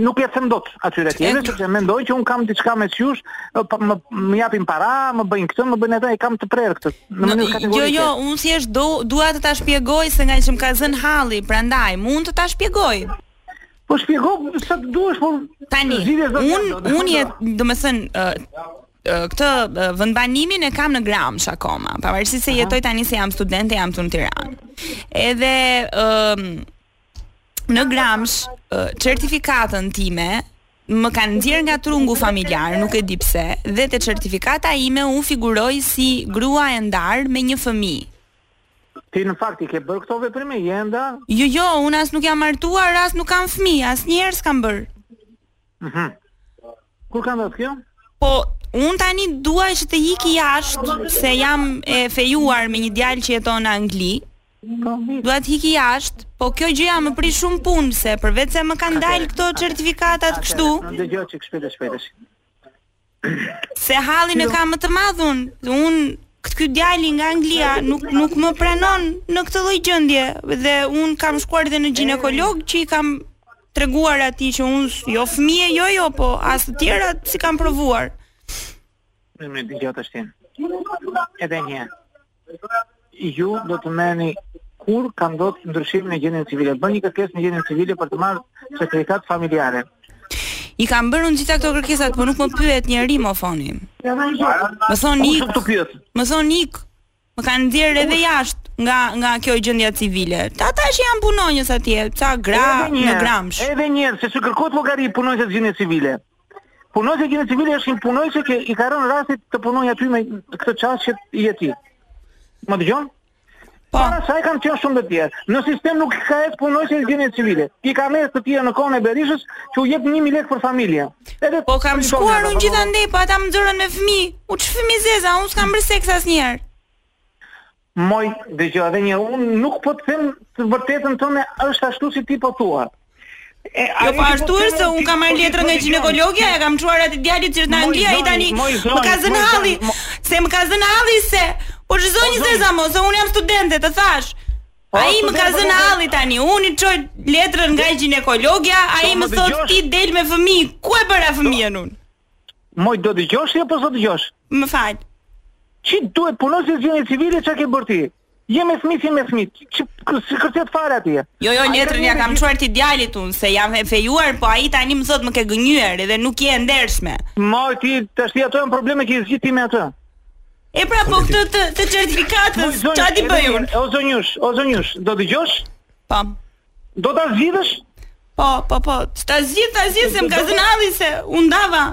nuk e them dot atyre tjerë, sepse mendoj që unë kam diçka me qysh, ë, pa- më, më japin para, më bëjnë këtë, më bëjnë atë, e kam të prerë këtë. Në mënyrë
Jo,
kategorike.
jo, unë thjesht do dua të ta shpjegoj se nga që më ka zënë halli, prandaj mund të ta shpjegoj.
Po shpjego sa të duhesh, po
Tani,
zgjidhjes do të
un
janë, do të
un je,
thonë.
domethënë, ë ë, këtë ë, vendbanimin e kam në Gramsh akoma, pavarësisht se jetoj tani se jam studente, jam këtu në Tiranë. Edhe ëm në Gramsh ë, certifikatën time më kanë nxjerr nga trungu familjar, nuk e di pse, dhe te certifikata ime u figuroj si grua e ndarë me një fëmijë.
ti në fakt i ke bërë këto veprime, je enda,
Jo, jo, unë as nuk jam martuar, as nuk kam fëmijë, as njerëz kam bër.
kur ka ndodhur kjo?
Po, unë tani dua që të iki jashtë se jam e fejuar me një djalë që jeton në Angli.
Po,
Dua të iki jashtë, po kjo gjëja më prish shumë punë se përveç se më kanë dalë këto certifikatat kështu,
Në dëgjoj çik shpejt e shpejtësh.
se hallin e kam më të madhun. Unë këtë ky djali nga Anglia nuk nuk më pranon në këtë lloj gjendje dhe un kam shkuar edhe në ginekolog që i kam treguar atij që un jo fëmijë jo jo po as të tjerat si kam provuar.
Në më dëgjoj tash ti. Edhe një. herë. Ju do të merrni kur ka ndodhur ndryshimi në gjendjen civile. Bëni kërkesë në gjendjen civile për të marrë certifikat familjare.
I kam bërë unë gjitha këto kërkesat, po nuk më pyet njeri më foni. Më
Po,
thon ik. Më thon ik. Më kanë nxjerrë edhe jashtë nga nga kjo gjendja civile. Ta ata që janë punonjës atje, ca gra në gramsh.
Edhe një herë, sepse kërkohet llogari punonjëse të gjendjes civile. Punonjëse e gjendjes civile është një punonjës që i ka rënë rastit të punojë aty me këtë çast që je ti. Më dëgjon? Po. Para sa e kanë qenë shumë të tjerë. Në sistem nuk ka as punojëse e gjendjes civile. I ka mes të tjerë në kohën e Berishës që u jep 1000 lekë për familje. Edhe
po kam shkuar unë gjithandej, po ata më nxorën me fëmijë. U ç'fëmi zeza, unë s'kam bërë seks asnjëherë.
Moj, dëgjoj edhe një unë nuk po të them të vërtetën tënde është ashtu si ti po thua.
E, jo
po
pa ashtu është se un kam marrë letrën nga ginekologja, e kam çuar atë djalit që është në Angli, ai tani më ka zënë halli, se më ka zënë halli se po ç'zonjë se za mos, se un jam studente, të thash. Ai më ka zënë halli tani, unë i çoj letrën nga ginekologja, ai më thotë ti del me fëmijë, ku e bëra fëmijën unë?
Moj do dëgjosh apo s'do dëgjosh?
Më fal.
Çi duhet punosh në gjendje civile çka ke bërë ti? Je me fëmijë, je me fëmijë. Çi kërcet fare atje.
Jo, jo, letrën ja kam çuar ti djalit unë se jam e fejuar, po ai tani më thotë më ke gënjyer edhe nuk je e ndershme.
Mo ti tash ti ato janë probleme që i zgjiti me atë.
E pra po këtë të, të certifikatës, çfarë ti bëj unë?
O zonjush, o zonjush, do dëgjosh?
Po.
Do ta zgjidhësh?
Po, po, po. Ta zgjidh, ta zgjidh se më ka zënë halli se u ndava.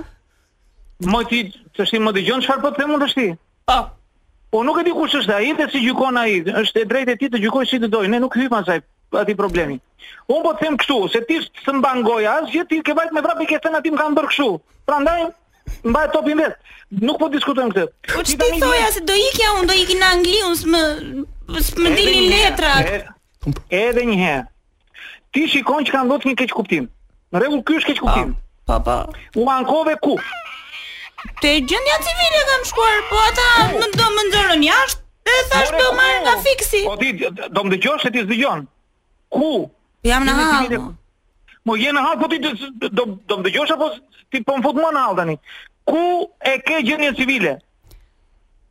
Mo ti tash ti më dëgjon çfarë po them unë tash ti?
Po.
Po nuk e di kush është ai, dhe si gjykon ai, është e drejtë e tij të gjykojë si të dojë. Ne nuk hyjmë asaj aty problemi. Un po të them kështu, se ti s'të mban goja asgjë, ti ke vajt me vrapë ke thënë aty më kanë bërë kështu. Prandaj mbaj topin vet. Nuk po diskutojmë këtë.
Po ti thoja se do ikja unë, do ikin në Angli, unë s'më s'më dilin letra.
Edhe një herë. Ti shikon që kanë ndodhur një keq kuptim. Në rregull, ky është keq kuptim.
Po, po.
U ankove ku?
Te gjendja civile kam shkuar, po ata më do më nxorën jashtë dhe thash do marr nga fiksi.
Po ti do më dëgjosh se ti s'dëgjon. Ku?
Jam në hall.
Mo je në hall, po ti do do më dëgjosh apo ti po më fut më në hall tani. Ku e ke gjendjen civile?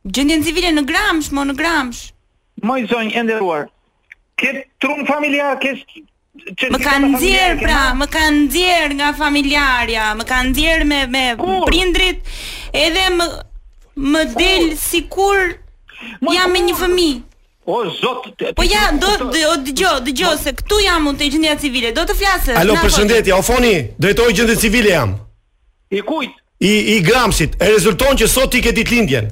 Gjendjen civile në Gramsh, mo në Gramsh.
Mo i zonjë e nderuar. Ke trun familjar, ke
Më kanë nxjerr pra, më kanë nxjerr nga familjarja, më kanë nxjerr me me Kur? prindrit, edhe më më del sikur jam me një fëmijë.
O zot.
Po ja, do dëgjoj, dëgjoj se këtu jam unë te gjendja civile, do të flasë.
Alo, përshëndetje, Ofoni, drejtori gjendje civile jam.
I kujt?
I i Gramsit. E rezulton që sot ti ke ditëlindjen.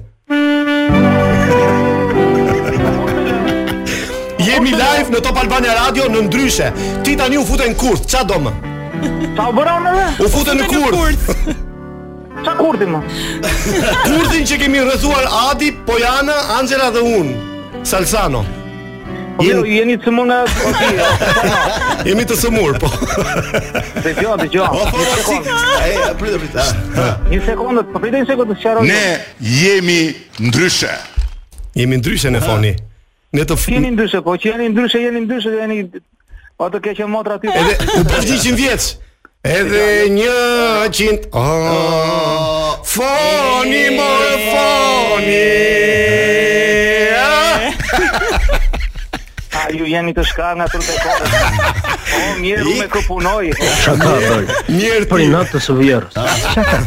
Jemi live në Top Albania Radio në ndryshe. Ti tani u futen kurth, ç'a do më?
Sa u bëra më?
U futen në kurth.
Ç'a kurthi më?
Kurthin që kemi rrethuar Adi, Pojana, Angela dhe unë. Salsano.
Jeni Po, jo, jeni të po, sëmur nga jo,
Jemi të sëmur, po.
Dëgjoj, dëgjoj.
Po, po, si. Ai, prit, prit.
Një sekondë, po pritën një sekondë të sqaroj.
Ne jemi ndryshe.
Jemi ndryshe në foni. Ne të
jeni ndryshe, po që jeni ndryshe, jeni ndryshe, jeni Po, o të keqë motra aty.
Edhe u bën 100 vjeç. Edhe 100. Oh, foni more foni. Ah.
A ju jeni të shkarë nga tërë të kodë O, mirë, u me këpunoj
Shaka, bëj
Mirë
Për i natë të së vjerës Shaka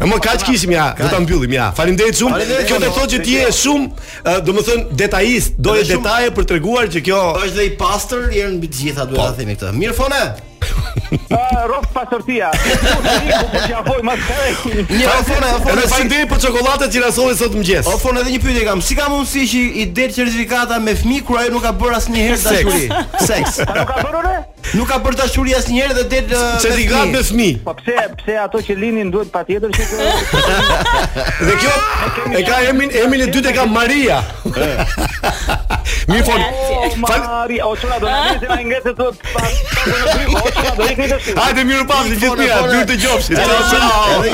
E më kaq kishim ja, do ta mbyllim ja. Faleminderit shumë. Kjo do të thotë që ti je shumë, domethënë detajist, doje detaje për treguar që kjo
është dhe i pastër, janë mbi të gjitha duhet ta themi këtë. Mirë fone.
Rok pasortia.
Një fone, fone.
Edhe faleminderit për çokoladën që na solli sot mëngjes.
O fone edhe një pyetje kam. Si ka mundësi që i del certifikata me fëmijë kur ajo nuk ka bërë asnjëherë dashuri? Seks.
Nuk ka bërë
Nuk ka bërë dashuri asnjëherë dhe del uh,
certifikat me fëmijë.
Po pse pse ato që linin duhet patjetër që
Dhe kjo e ka emrin emrin e dytë e ka Maria. Mirë fol. Fal.
Mari, o çuna do të më ngjetë të
Hajde mirë pa, të gjithë mira, dy të gjofshit.
Edhe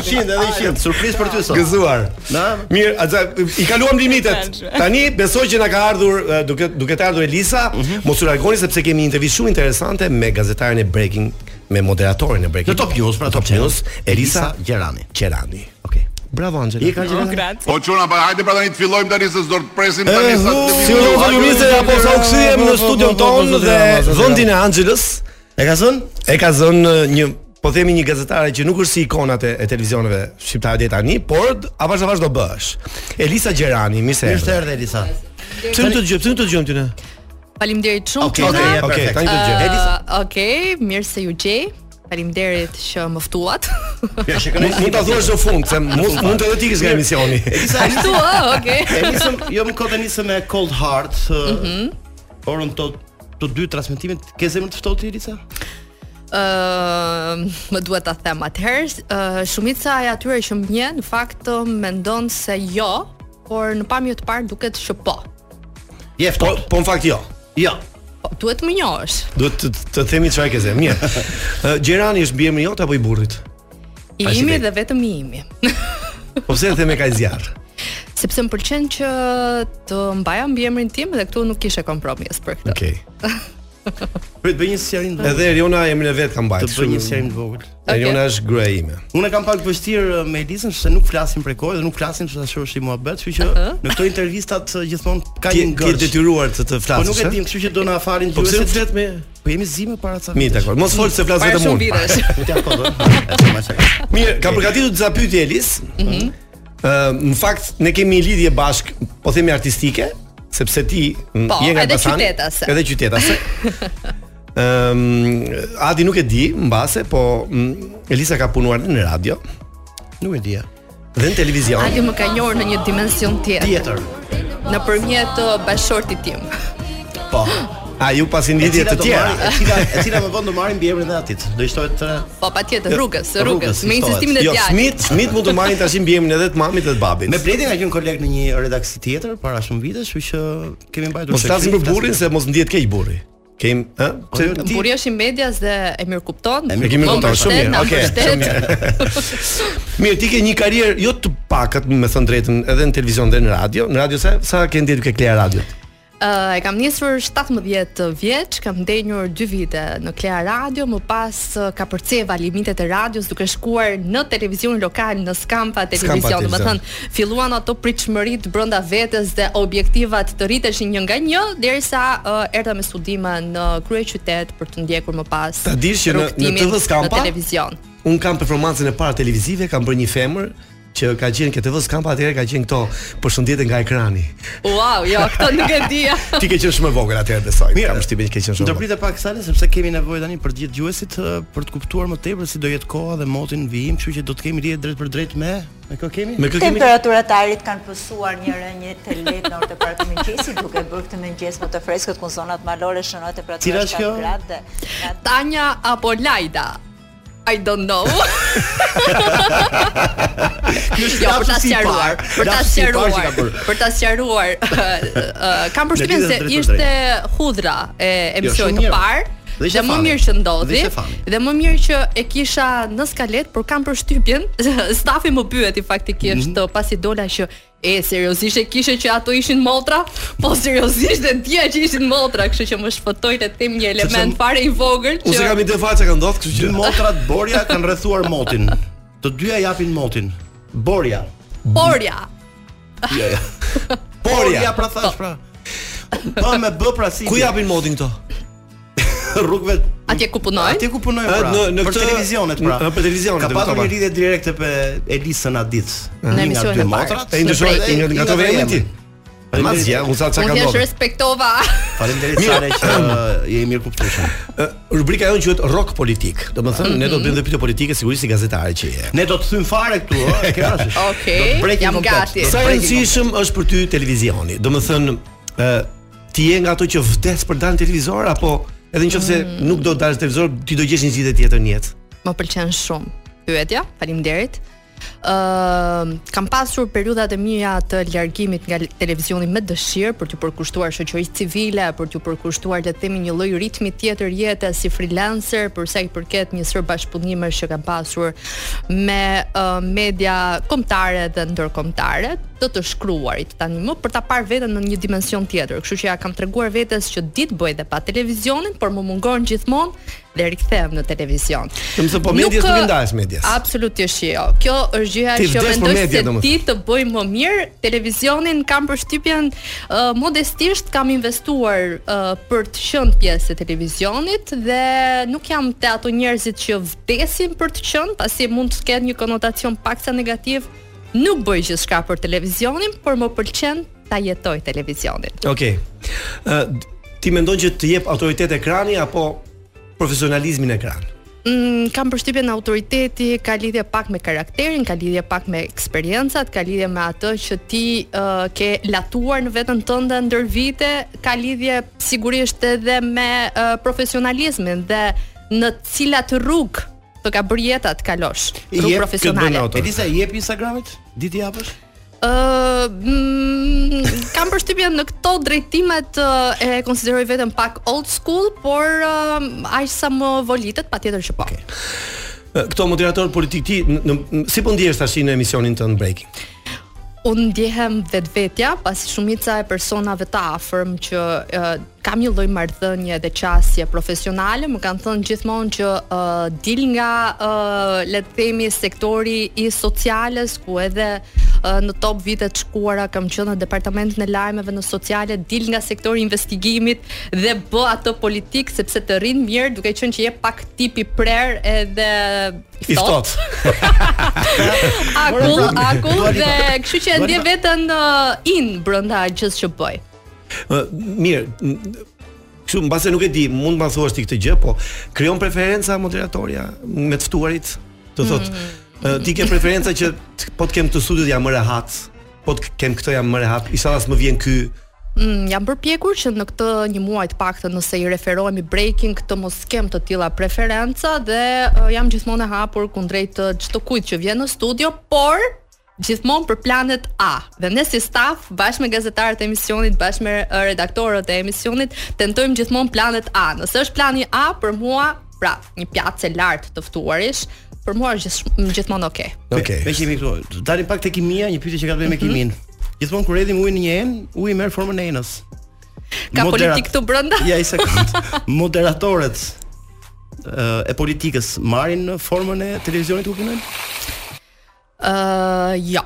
100, edhe 100, surprizë për ty sot.
Gëzuar.
Na?
Mirë, aza i kaluam limitet. Tani besoj që na ka ardhur uh, duke duke të ardhur Elisa,
Mhm.
mos u largoni sepse kemi një intervistë shumë interesante me gazetarin e Breaking me moderatorin e Breaking.
Në Top News, pra
Top News, Elisa
Gjerani.
Gjerani.
Okej.
Bravo Angela.
Je ka Gjerani?
Po çuna, pa hajde pra tani të fillojmë tani se s'do të presim tani sa të
Eh, Si u
fillojmë.
vëllëmisë apo sa u kthyem në studion ton dhe vendin e Angelës
E ka zënë?
e ka zënë një po themi një gazetare që nuk është si ikonat e, e televizioneve shqiptare deri tani, por d- avash avash do bësh. Elisa Gjerani, mirë se
Mirë se erdhe Elisa.
Pse nuk të dëgjoj, pse nuk të dëgjojmë ty ne?
Faleminderit shumë
Okej, okej, ja, perfekt. tani të dëgjoj.
Ë,
Elisa.
Okej, mirë se ju gjej. Faleminderit që më ftuat.
Ja,
Mund mund ta thuash në fund, se mund mund të ikësh nga emisioni.
Ashtu oh, ë, okay.
E nisëm, jo më kote nisëm me Cold Heart. Mhm. Orën të të dy transmetimit, ke zemër të ftohtë Elisa?
Ë, më duhet ta them atëherë, ë, shumica e atyre që më njeh, në fakt ë, mendon se jo, por në pamje të parë duket që po.
Je
ftohtë. Po, po në fakt jo.
Jo.
Po, duhet më njohësh.
Duhet të, të themi çfarë ke zemër. Mirë. Ë, Gjerani është mbi emrin jot apo i burrit?
I
Ai si
imi
vet.
dhe vetëm i imi.
Po pse e theme ka i zjarr?
Sepse më pëlqen që të mbaja mbi emrin tim dhe këtu nuk kishe kompromis për këtë.
Okej.
Prit bëj një sjarin.
Edhe Eriona emrin e vet ka mbajtur.
Të bëj një sjarin të vogël.
Eriona është gruaja ime.
Unë e kam pak vështirë me Elisën se nuk flasim prej kohë dhe nuk flasim se ashtu është i muhabet, kështu që në këto intervistat ë, gjithmonë ka një
Ti ti je
ngërç.
detyruar të të
Po
flasësh.
nuk e dim, kështu që do na falin
Po pse
dëgjuesit.
nuk flet me?
Po jemi zimë para ca.
Mi, dakor. Mos fol se flas
Para
vetëm
shumë
unë.
vitesh. Ja, po, po.
Mirë, ka përgatitur disa pyetje Elis.
Mhm.
Ë, në fakt ne kemi një lidhje bashk, po themi artistike, sepse ti m,
Po,
je nga
edhe
Elbasani,
qytetase.
Edhe qytetase. Ëm, Adi nuk e di mbase, po m, Elisa ka punuar në radio.
Nuk e di.
Dhe në televizion.
Ali më ka njohur në një dimension tjetër.
Tjetër.
Nëpërmjet uh, bashortit tim.
Po.
Oh, A ju pasi
E
lidhje
cila
të
do
tjera.
marrin- E cila e cila më vonë do marrin mbi emrin e atit. Do i shtohet tre.
Po patjetër rrugës, rrugës, me
shtohet.
insistimin e
Jo,
djalit.
Smith, Smith mund të marrin tash mbi emrin edhe të mamit edhe të babit.
Me Bledi nga qenë koleg në një redaksi tjetër para shumë vitesh, kështu që kemi mbajtur
Mos flasim Po, për burrin se mos ndihet keq burri. Kem, ë? Pse
Burri është i medias dhe e mirë kupton.
E mirë kemi
Po,
kuptuar shumë mirë.
mbështet, na
Okej, shumë mirë.
mbështet.
Mirë, ti ke një karrierë jo të pakët, me thënë drejtën, edhe në televizion dhe në radio. Në radio sa sa ke ndjetur ke Klea Radio?
Ë, Eh, e kam nisur 17 vjeç, kam ndenjur 2 vite në Klea Radio, më pas ë, ka përcjeva limitet e radios duke shkuar në televizion lokal në Skampa Televizion. Do të
televizion.
thënë, filluan ato pritshmëritë brenda vetes dhe objektivat të rriteshin një nga një derisa ë, erdha me studime në kryeqytet për të ndjekur më pas.
Ta dish që në- në
rrugtimin
TV Skampa-
në televizion.
Un kam performancën e parë televizive, kam bërë një femër që ka qenë ke TV Skampa atëherë ka qenë këto përshëndetje nga ekrani.
Wow, jo, këtë nuk e dija.
Ti ke qenë shumë e vogël atëherë besoj. Kam shtypin që ke qenë shumë. e
Do
vogël.
pritet pak sale sepse kemi nevojë tani për gjithë dëgjuesit ë, për të kuptuar më tepër si do jetë koha dhe motin në vijim, kështu që do të kemi lidhje drejt për drejt me me kë kemi?
Temperaturat e ajrit kanë pësuar një rënje të lehtë në orë të parë të mëngjesit, duke bërë këtë mëngjes më të freskët ku në zonat malore shënohet
Cila
temperatura
është
7
kjo?
gradë. dhe-
Tanja apo Lajda? I don't know. jo, për ta
lapsi i
sqaruar,
parë,
për ta
lapsi i parë që ka
sqaruar,
bërë.
për ta sqaruar. ë, ë, Kam përshtypjen
Në lidhje
se
drejt për
ishte hudhra e emisionit
Jo, shumë
të
mirë.
parë.
Dhe
Dhe,
ishte
më
fani.
mirë që ndodhi
Dhe ishte fani.
dhe më mirë që e kisha në skalet, por kam përshtypjen, stafi më pyeti faktikisht
Mhm.
pasi dola që e seriozisht e kishe që ato ishin motra, po seriozisht e dija që ishin motra, kështu që më shpëtoi të them një element fare i vogël që
Unë se kam ide fare çka ka ndodhur, kështu që
Dy motrat Borja kanë rrethuar motin. Të dyja japin motin. Borja.
Porja.
Jo, jo.
Borja.
Borja pra thash pra. Po me b pra si.
Ku japin motin këto?
Rrugëve
Atje ku punoj?
Atje ku punoj
Ë,
pra.
në- në
për
këtë-
televizionet pra.
në- për televizionet,
Ka
e
pasur
kuptova.
një lidhje direkte për Elisën Adit.
Në
Një nga dy
emisionin e parë.
motrat.
E ndryshoi nga nga ato vende ti. Ma zgja, unë sa çka
Unë
ka
thjesht
ndodhur.
respektova.
Faleminderit
Mirë.
Sare që eh, ë, je i mirë kuptueshëm.
Ë, Rubrika jonë quhet Rock Politik. Domethënë ne do të bëjmë dhe pyetje politike sigurisht si gazetare që je.
Ne do të thym fare këtu, ë, ke rastish.
Okej,
Do të brekim
jam
komplet, do
gati.
të
Sa e
brekim
rëndësishëm është për ty televizioni? Domethënë ë ti je nga ato që vdes për dalë në televizor apo edhe nëse nuk do të dalësh në televizor, ti do gjesh një zgjidhje tjetër në jetë?
Më pëlqen shumë pyetja. Faleminderit. Ëm kam pasur periudha të mia të largimit nga televizioni me dëshirë për t'u përkushtuar shoqërisë civile, për t'u përkushtuar le të themi një lloj ritmi tjetër jete si freelancer, për sa i përket një sër bashkëpunime që kam pasur me uh, media kombëtare dhe ndërkombëtare. të të shkruarit tani më për ta parë veten në një dimension tjetër. Kështu që ja kam treguar vetes që ditë bëj dhe pa televizionin, por më mungon gjithmonë dhe rikthehem në televizion.
Të më thënë, po medias nuk i ndahesh medias.
Absolutisht jo. Kjo është gjëja
Ti
që jo
vdes për
mendoj
media,
se
domethënë.
ti të bëj më mirë. Televizionin kam përshtypjen uh, modestisht kam investuar uh, për të qenë pjesë e televizionit dhe nuk jam te ato njerëzit që vdesin për të qenë, pasi mund të ketë një konotacion paksa negativ. Nuk bëj gjithçka për televizionin, por më pëlqen ta jetoj televizionin.
Okej. Ë ti mendon që të jep autoritet ekrani apo profesionalizmin ekran?
Mm, kam përshtypjen autoriteti ka lidhje pak me karakterin, ka lidhje pak me eksperiencat, ka lidhje me atë që ti uh, ke latuar në veten tënde ndër vite, ka lidhje sigurisht edhe me uh, profesionalizmin dhe në cilat rrugë të ka bërë jeta të kalosh. Rrugë profesionale.
Elisa, i jep Instagramit? Ditë japësh?
Ë, mm, kam përshtypjen në këto drejtimet ë, e konsideroj veten pak old school, por uh, aq sa më volitet, patjetër që po.
Ë, Këto moderator politik ti në, në, si po ndihesh tash në emisionin tënd Breaking?
Unë ndjehem vetvetja, pasi shumica e personave të afërm që uh, kam një lloj marrëdhënie dhe qasje profesionale, më kanë thënë gjithmonë që uh, dil nga uh, le të themi sektori i sociales, ku edhe uh, në top vitet të shkuara kam qenë në departamentin e lajmeve në sociale, dil nga sektori i investigimit dhe bë atë politik sepse të rrin mirë, duke qenë që je pak tip i prerë edhe i
I
ftohtë.
ftohtë.
Akull,
prapë.
akull
Dua
dhe
Lipa.
kështu që e
Dua
ndje
Lipa.
veten uh, in brenda gjithë që bëj.
Ë, mirë, n- kështu mbase nuk e di, mund ma thuash ti këtë gjë, po krijon preferenca moderatoria me të ftuarit, të thotë, ë, ti ke preferenca që t- po të kem të studiot jam më rehat, po të kem këtë jam më rehat, inshallah s'më vjen ky.
Mm, jam përpjekur që në këtë një muaj të paktën nëse i referohemi breaking të mos kem të tilla preferenca dhe uh, jam gjithmonë e hapur kundrejt uh, çdo kujt që vjen në studio, por gjithmonë për planet A. Dhe ne si staf, bashkë me gazetarët e emisionit, bashkë me uh, redaktorët e emisionit, tentojmë gjithmonë planet A. Nëse është plani A për mua, pra, një pjatës e lartë të ftuarish, për mua është gjithsh- gjithmonë okay.
Okej. Mhm. Me kemi këtu. të Dalim pak te kimia, një pyetje që ka të bëjë me kimin. Gjithmonë kur hedhim ujin në një enë, uji merr formën e enës.
Ka politik këtu brenda?
Ja, i sekond. Moderatorët ë, eh, e politikës marrin në formën e televizionit ku punojnë?
Ë, jo.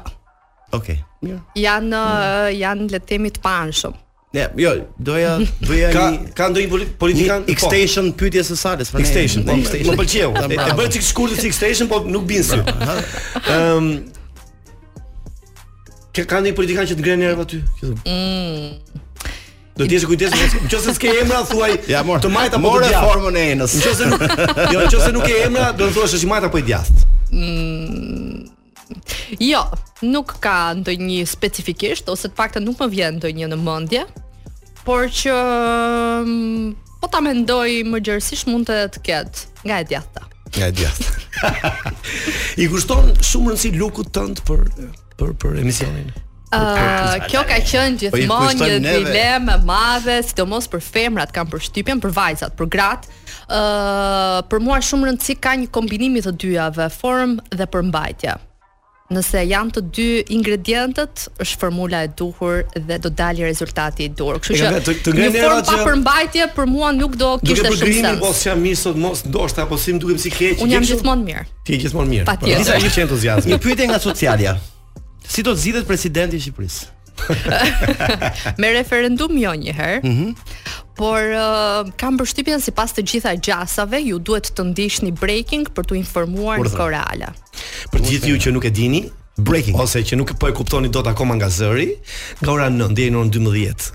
Okej. Mirë.
Janë
Mm.
ë, janë le të themi të panshëm.
Ja, jo, doja doja
Ka-
një
ka ndonjë poli- politikan? po.
Një X-Station pyetje së Salës pra ne-
X-Station, po,
ne- X-Station.
më pëlqeu.
Ta
E- E
bravo.
bëj çik shkurtë si X-Station, po nuk bin sy. Ëm Ka ka ndonjë politikan që të ngrenë nervë aty? Që thon,
Mm.
Do të jesh kujdes, mos- nëse s'ke emra thuaj,
Ja, mor-
të majt apo
more
të djathtë.
formën e enës.
Nëse nuk, jo, nëse nuk ke emra, do të thuash është i majt apo i djathtë.
Mm. Jo, nuk ka ndonjë specifikisht ose të paktën nuk më vjen ndonjë në mendje, por që mm, po ta mendoj më gjerësisht mund të të ketë nga e djathta.
Nga e djathtë. I kushton shumë rëndësi lukut tënd për për për emisionin.
Uh, kjo ka qenë
Po i
gjithmonë
kushtojmë
një
neve.
dilemë e madhe, sidomos për femrat kam përshtypjen, për vajzat, për gratë. Ë, për mua shumë rëndësi ka një kombinim i të dyjave, formë dhe përmbajtje. Nëse janë të dy ingredientët, është formula e duhur dhe do dali rezultati i duhur. Kështu
E
që
ka vetë, të
një
ngrenë
formë
errat
pa
që-
përmbajtje për mua nuk do
Duke
kishte
për
shumë
grimin, po
sens.
s'jam mirë sot, mos ndoshta, po si më dukem si keq.
Unë jam
Gjej kështu-
gjithmonë mirë.
Ti je gjithmonë mirë. Po,
Patjetër.
Disa ishte entuziazmi.
Një pyetje nga socialja. Si do të zgjidhet presidenti i Shqipërisë?
Me referendum jo një herë.
Mhm.
Por uh, kam përshtypjen sipas të gjitha gjasave, ju duhet të ndiqni breaking për t'u informuar në
Urdhër.
korale.
Për gjithë ju që nuk e dini, breaking ose që nuk po e kuptoni dot akoma nga zëri, nga ora 9 deri në orën 12.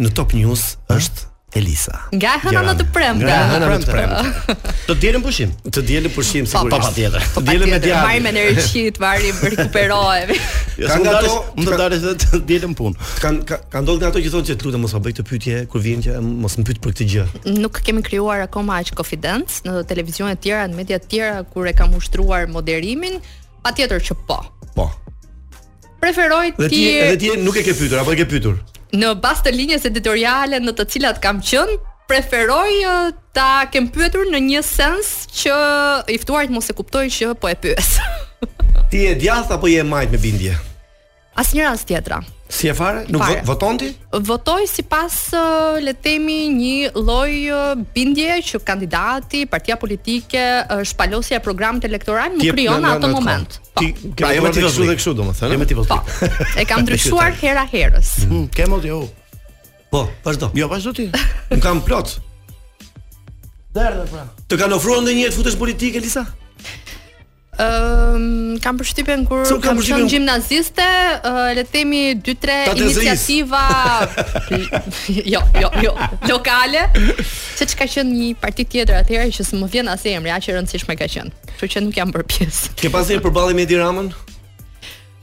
Në Top News është Elisa.
Nga e hëna në të premte.
Nga e hëna në të premte.
Do të dielën pushim.
Të dielën pushim sigurisht.
pa, patjetër.
Të dielën me djalë.
Marrim energji, të varim rikuperohemi.
Jo, s'u ndales- mund të dalësh dhe të dielën punë.
Kan ka, ka ndodhur nga ato që thonë që lutem mos ma bëj këtë pyetje kur vjen që mos më pyet për këtë gjë.
Nuk kemi krijuar akoma aq confidence në televizionet tjera, në media të tjera kur e kam ushtruar moderimin, patjetër që po.
Po.
Preferoj
Dhe ti edhe ti nuk e ke pyetur apo e ke pyetur?
në bazë të linjës editoriale në të cilat kam qenë, preferoj eh, ta kem pyetur në një sens që i ftuarit mos e kuptoj që po e pyes.
Ti je djathtë apo je majt me bindje?
Asnjë rast tjetra.
Si e fare? Nuk
Fare.
vo- voton ti?
Votoj sipas ë, le të themi një lloj ë, bindje që kandidati, partia politike, ë, shpalosja e programit elektoral
Ti
më
je
krijon
në- në- në
atë
atë
moment. Po,
kohë. Ti ke
Pra, jo me
votuar
ti
dhe
kështu
kështu
dhe
dhe kështu domethënë. Jo me ti voton.
E kam ndryshuar hera herës.
Ke mot jo.
Po, vazhdo.
Jo, vazhdo ti.
Nuk kam plot.
Derdhe pra.
Të kanë ofruar ndonjëherë të futesh politike, Lisa?
Ëm Ehm, kam përshtypjen kur
Se u kam
kam qenë
përshtypjen-
gjimnaziste, ë, le të themi 2-3
Ta të zëis.
iniciativa jo, jo, jo, lokale, se çka qenë një parti tjetër atëherë që s'më vjen as emri, aq e rëndësishme ka qenë. Kështu që nuk jam bërë pjesë.
Ke pasur përballje me Edi Ramën?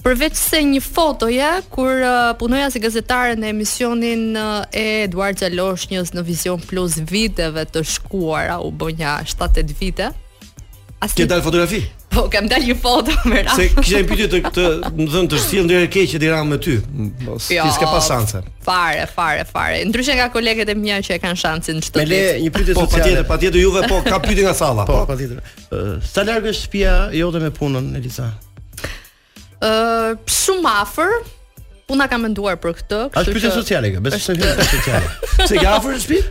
Përveç se një fotoje kur uh, punoja si gazetare në emisionin uh, e Eduard Xhaloshnjës në Vision Plus viteve të shkuara, u bë një 7-8 vite. As
Ke dalë fotografi?
Po, kam dalë një foto me radhë.
Se kisha një pyetje të të, më thënë të sjell ndër keq Edi Ramën me ty. Po, s-
Jo.
Ti s'ke pas shanse.
Fare, fare, fare. Ndryshe nga kolegët e mia që e kanë shansin çdo ditë.
Po patjetër, patjetër juve, po ka pyetje nga salla.
Po, patjetër. Ë, Sa larg është shtëpia jote me punën, Elisa?
Ë, shumë afër. Puna kam menduar për këtë,
Është pyetje
që-
sociale kjo, besoj se është pyetje sociale.
Se ke afër shtëpi?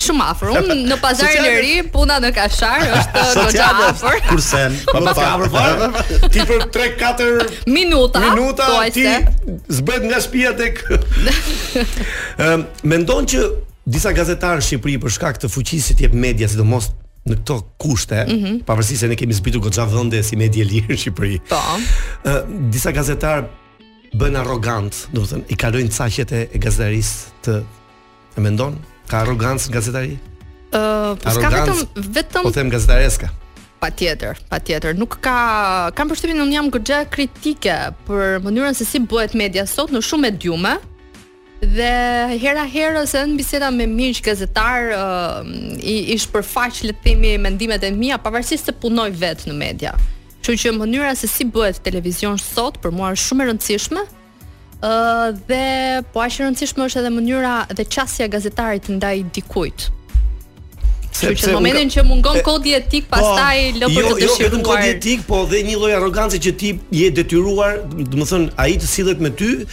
Shumë afër. Unë në pazarin e
Sociale.
ri, puna në Kashar është goxha
Sociale.
afër.
Kurse,
Po pas ka afër fare. Ti për 3-4
Minuta,
minuta ti
thuajse.
zbret nga shtëpia tek Ëm mendon që disa gazetarë në Shqipëri për shkak të fuqisë që t'i jep media, sidomos në këto kushte,
Mhm.
pavarësisht se ne kemi zbritur goxha vende si media e lirë në Shqipëri.
Po.
Ë disa gazetarë bën arrogant, do të thënë, i kalojnë caqet e, e gazetarisë të e mendon ka arrogancë në gazetari?
Ë, po s'ka vetëm
Arrogancë.
vetëm
Po them gazetareska.
Patjetër, patjetër. Nuk ka kam përshtypjen unë jam goxha kritike për mënyrën se si bëhet media sot në shumë mediume. Dhe hera herës edhe në biseda me miq gazetar uh, i, i shpërfaq le të themi mendimet e mia pavarësisht se punoj vetë në media. Kështu që mënyra se si bëhet televizion sot për mua është shumë e rëndësishme. Ë dhe po aq e rëndësishme është edhe mënyra dhe çësia e gazetarit ndaj dikujt. Kështu që në momentin që mungon kodi etik, pastaj lë për
jo,
të
Jo,
dëshiruar.
vetëm kodi etik, po dhe një lloj arrogancë që ti je detyruar, do të thënë, ai të sillet me ty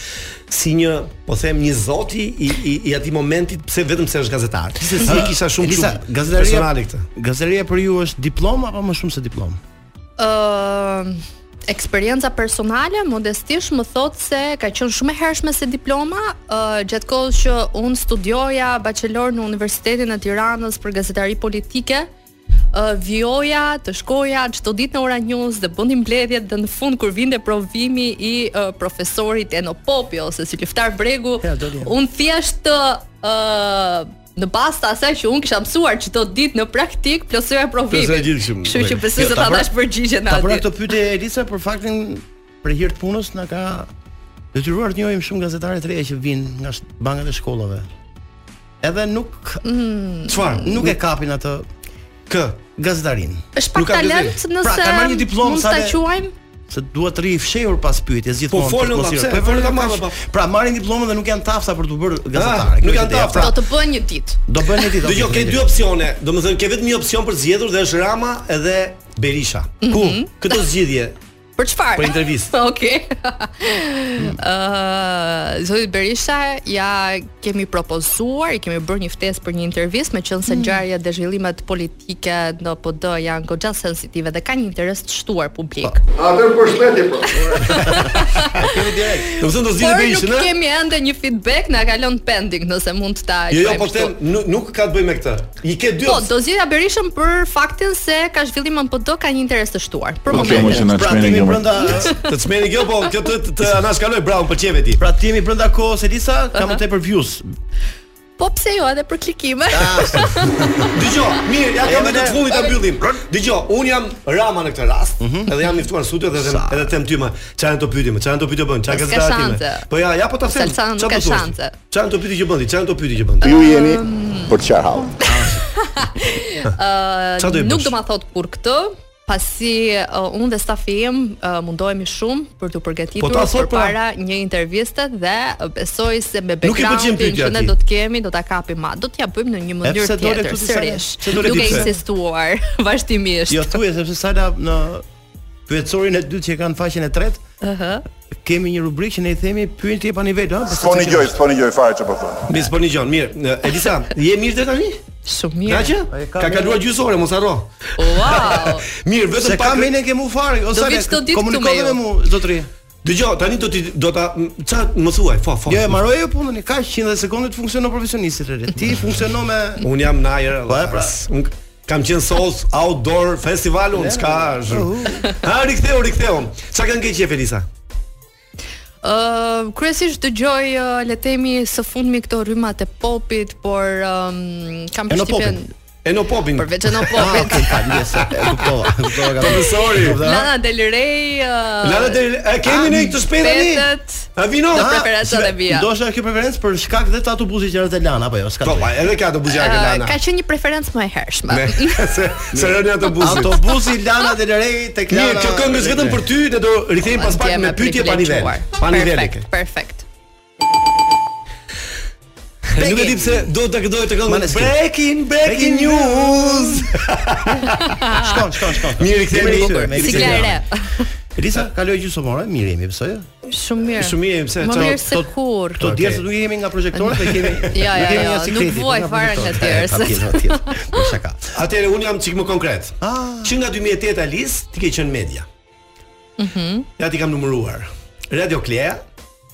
si një, po them, një zoti i i, i atij momentit, pse vetëm se është gazetar. Ti se si e kisha shumë
Elisa,
shumë personale
gazetaria
këtë.
Gazetaria për ju është diplom apo më shumë se diplom?
Ë, eksperienca personale modestisht më thot se ka qenë shumë e hershme se diploma uh, gjatë kohës që unë studioja bachelor në Universitetin e Tiranës për gazetari politike uh, vjoja, të shkoja çdo ditë në Ora News dhe bënim mbledhjet dhe në fund kur vinte provimi i uh, profesorit Enopopi ose si Luftar Bregu, unë thjesht ë në bazë të asaj që unë kisha mësuar çdo ditë në praktik, plotësoja
Plotësoja
provimin.
gjithë që-
Kështu që besoj
Jo,
se
ta
ta
bëra-
dash përgjigjen
Ta bëra
aty.
këtë pyetje Elisa për faktin për hir të punës na ka detyruar të njohim shumë gazetare të reja që vijnë nga sh- bankat e shkollave. Edhe nuk
çfarë?
Nuk e kapin atë
kë
gazetarin.
Është pak
Nuk ka
talent
gazetarin.
nëse
pra, ka marrë një diplomë
mund
sa
ta
dhe-
quajmë.
se duhet të rri i fshehur pas pyetjes gjithmonë.
Po, folën,
për të
pa,
mos
pse?
i- Po,
Folën
folën
tamam,
kaq.
pa.
Pra marrin diplomën dhe nuk janë tafta për të bërë gazetare.
Ah,
Kjo
nuk
është
janë
ideja.
tafta.
Pra,
Do të bëhen një ditë.
Do bëhen një ditë.
Dhe jo, ke dy opsione. Domethënë ke vetëm një opsion për zgjedhur dhe është Rama edhe Berisha.
Mhm.
Ku? Këto zgjidhje.
Për çfarë?
Për intervistë.
Okej. Ë, Zoti Berisha ja kemi propozuar, i kemi bërë një ftesë për një intervistë, meqense se ngjarjet dhe zhvillimet politike në PD janë goxha sensitive dhe kanë një interes të shtuar publik.
Atër për shpeti po.
Domethënë do zgjidhë
Por
Berishën,
nuk
ë?
kemi ende një feedback, na ka lënë pending nëse mund ta
Jo, jo,
quajmë
po
kështu.
them, nuk, nuk ka të bëj me këtë. I ke dy
Po, do zgjidhja Berishën për faktin se ka zhvillim në PD ka një interes të shtuar. Për
Okay,
momentin.
mos e na
Pra
çmeni
kemi
kjo, më.
brenda
Të çmeni kjo, po kjo të të- të anash kaloj, bravo, pëlqeve ti.
Pra ti jemi brenda kohës Elisa, kam të tepër views.
Po pse jo edhe për klikime?
Dgjoj, mirë, ja kam vetë të fundit ta mbyllim. Dgjoj, un jam Rama në këtë rast,
Mhm.
edhe jam i ftuar në studio dhe them, edhe them ty më, çfarë janë të pyetje më, çfarë janë të pyetje bën, çfarë
S'ka
gazetare time.
shanse.
Po ja, ja po ta them.
Salsan,
çfarë
ka
do thosh?
shanse.
Çfarë janë të pyetje që bën ti, çfarë janë të pyetje që bën ti?
Ju jeni
Ehm.
për çfarë hall?
Qa do i
Ë, Ehm, nuk
bësh?
do ma thot kur këtë, pasi uh, unë dhe stafi im uh, mundohemi shumë për
Po
të përgatitur
ta thot pra.
përpara një interviste dhe uh, besoj se me
Nuk i pëlqen
backgroundin
pyetja
që ne
atij.
do të kemi do ta kapim ma. Do t'ja bëjmë në një
pse
mënyrë
dole
tjetër
këtu disa-
sërish.
pse dole ti
Duke
pse?
insistuar vazhdimisht.
Jo.
Jo thuaj sepse sala në pyetësorin e dytë që e kanë faqen e tretë,
Ëhë.
kemi një rubrikë që ne i themi pyetje pa nivel, ha?
S'po një gjoj, s'po një gjoj fare që po thon.
Mi s'po një gjoj, mirë. Elisa, je mirë deri tani?
Shumë mirë.
Ka që? Ka kaluar gjysmë ore, mos harro.
Wow.
mirë, vetëm
Se ka
pak
mene
ke mu fare,
ose Do vi çdo ditë këtu me ju.
me mu, zotëri. Dëgjoj, tani do ti do ta ça më thuaj, fa fa.
Jo, e
marroj jo punën, ka 100 sekonda të funksionon profesioniste rreth. Ti funksionon me
Un jam në ajër.
Po, e, pra.
Un kam qenë Souls Outdoor Festival, un s'ka. zhë- Ha riktheu, riktheu. Çka kanë keq qef Elisa?
Ë kryesisht dëgjoj uh, le të themi së fundmi këto rrymat e popit, por um, kam
Eno
përshtypjen
popin. Eno popin.
Përveç Eno popit.
Ah, okay, fal, yes, e kuptova, e kuptova. ka-
Profesori.
Lana Del Rey. Uh,
Lana Del Rey, e kemi ne këtë shpejt tani?
Petet.
A vino?
Në
Ah,
preferencat
s'me-
e mia.
Ndoshta kjo preferencë për shkak dhe të autobusit që rreth Lana apo jo, s'ka.
Po, pa, edhe ka autobusi që Lana.
Uh, Ka qenë një preferencë më e hershme.
Ne, se se rënë autobusi.
Autobusi Lana Del Rey tek Lana.
po. Mirë, kjo këngë është vetëm për ty, ne do rikthehemi pas pak me pyetje pa nivel. Pa nivel. e ke.
Perfekt, perfekt.
Nuk e di pse do ta këdoj të këngën.
Maneskin.
Breaking, breaking news.
Shkon, shkon, shkon.
Mirë, rikthehemi
Jemi
në-
bukur, me
Sigla e re.
Elisa, kaloj gjysmë ore, mirë jemi, pse jo?
Shumë mirë.
Shumë mirë, pse,
Më
ço-
mirë se
to-
kur.
Këto djerë nuk jemi nga projektorët dhe kemi
Ja,
nuk kemi
ja, ja,
nga
Jo, nuk
sekretit,
vuaj
nga
fare nga
projektorët.
djerës.
E, patjetër, patjetër. Po shaka.
Atëherë un jam çik më konkret. Që nga 2008 Alis ti ke qenë media.
Mhm.
Ja ti kam numëruar. Radio Klea,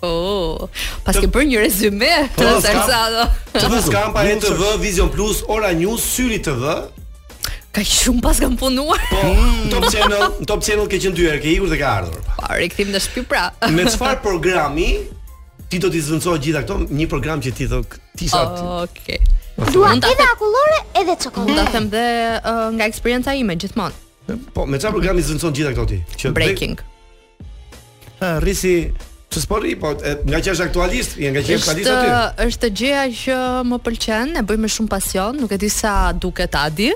Oh, pas ke bërë një rezume
Po,
të
s'ka-
Salsado.
TV Skampa, ETV, Vision Plus, Ora News, Syri TV,
Ka shumë pas kam punuar.
Po, në Top Channel, në Top Channel ke qenë dy herë, ke ikur dhe ka ardhur.
Po, rikthim në shtëpi pra.
Me çfarë programi ti do t'i zvendësoj gjitha këto? Një program që ti do ti sa ti.
Okej.
Dua edhe akullore edhe
Unë ta
çokoladë.
them dhe ë, nga eksperienca ime gjithmonë.
Po, me çfarë programi zvendëson gjitha këto ti? Që
Breaking.
Ha, rrisi Se s'po rri, po e, nga që është aktualist, je nga që është aktualist
Është
aty.
është gjëja që më pëlqen, e bëj me shumë pasion, nuk e di sa duket Adi.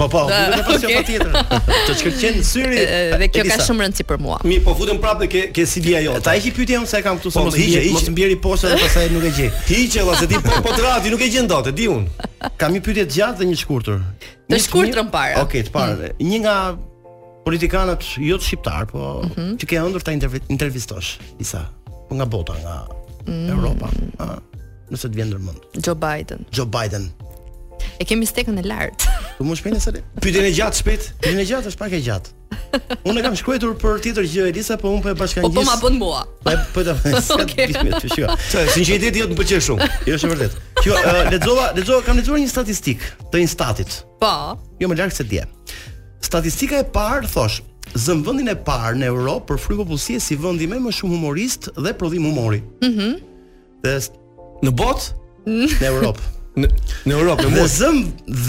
Po, po,
Da,
duhet të pasion
okay.
patjetër. Të shkëlqen syri.
Ë, Dhe kjo ka
Elisa.
shumë rëndësi për mua.
Mi, po futem prapë dhe ke ke CD-a jote.
Ta hiqi pyetjen se e kam këtu se
Po,
mos
hiqe,
hiqe,
hiqe.
mos mbjeri poshtë dhe pastaj nuk e gjej.
Hiqe valla se ti po po të rati nuk e gjen dot, e di un.
Kam një pyetje të gjatë dhe një të shkurtër.
Të shkurtrën para. Mm.
Okej, të parë. Një nga politikanët jo të shqiptar, po
Mhm.
që ke ëndër ta intervi- intervistosh disa, po nga bota, nga
Mm.
Europa. a, Nëse të vjen ndërmend.
Joe Biden.
Joe Biden.
E kemi stekën e lartë.
Tu më shpejnë se
Pyetjen e gjatë shpejt.
Pyetjen e gjatë është pak e gjatë. Unë e kam shkruar për tjetër gjë Elisa, po unë po e
Po
bashkangjis.
po ma bën mua.
Po e- po ta
Okej.
Se sinqeriteti jot më pëlqen shumë.
Jo është e vërtet. Kjo uh, lexova, lexova kam lexuar një statistik të Instatit.
Po.
Jo më lart se dje. Statistika e parë thosh, zëm vendin e parë në Europë për frykopullësie si vendi me më shumë humorist dhe prodhim humori.
Mhm.
Dhe
në botë
në Europë.
Në në Europë, në
Dhe
botë.
zëm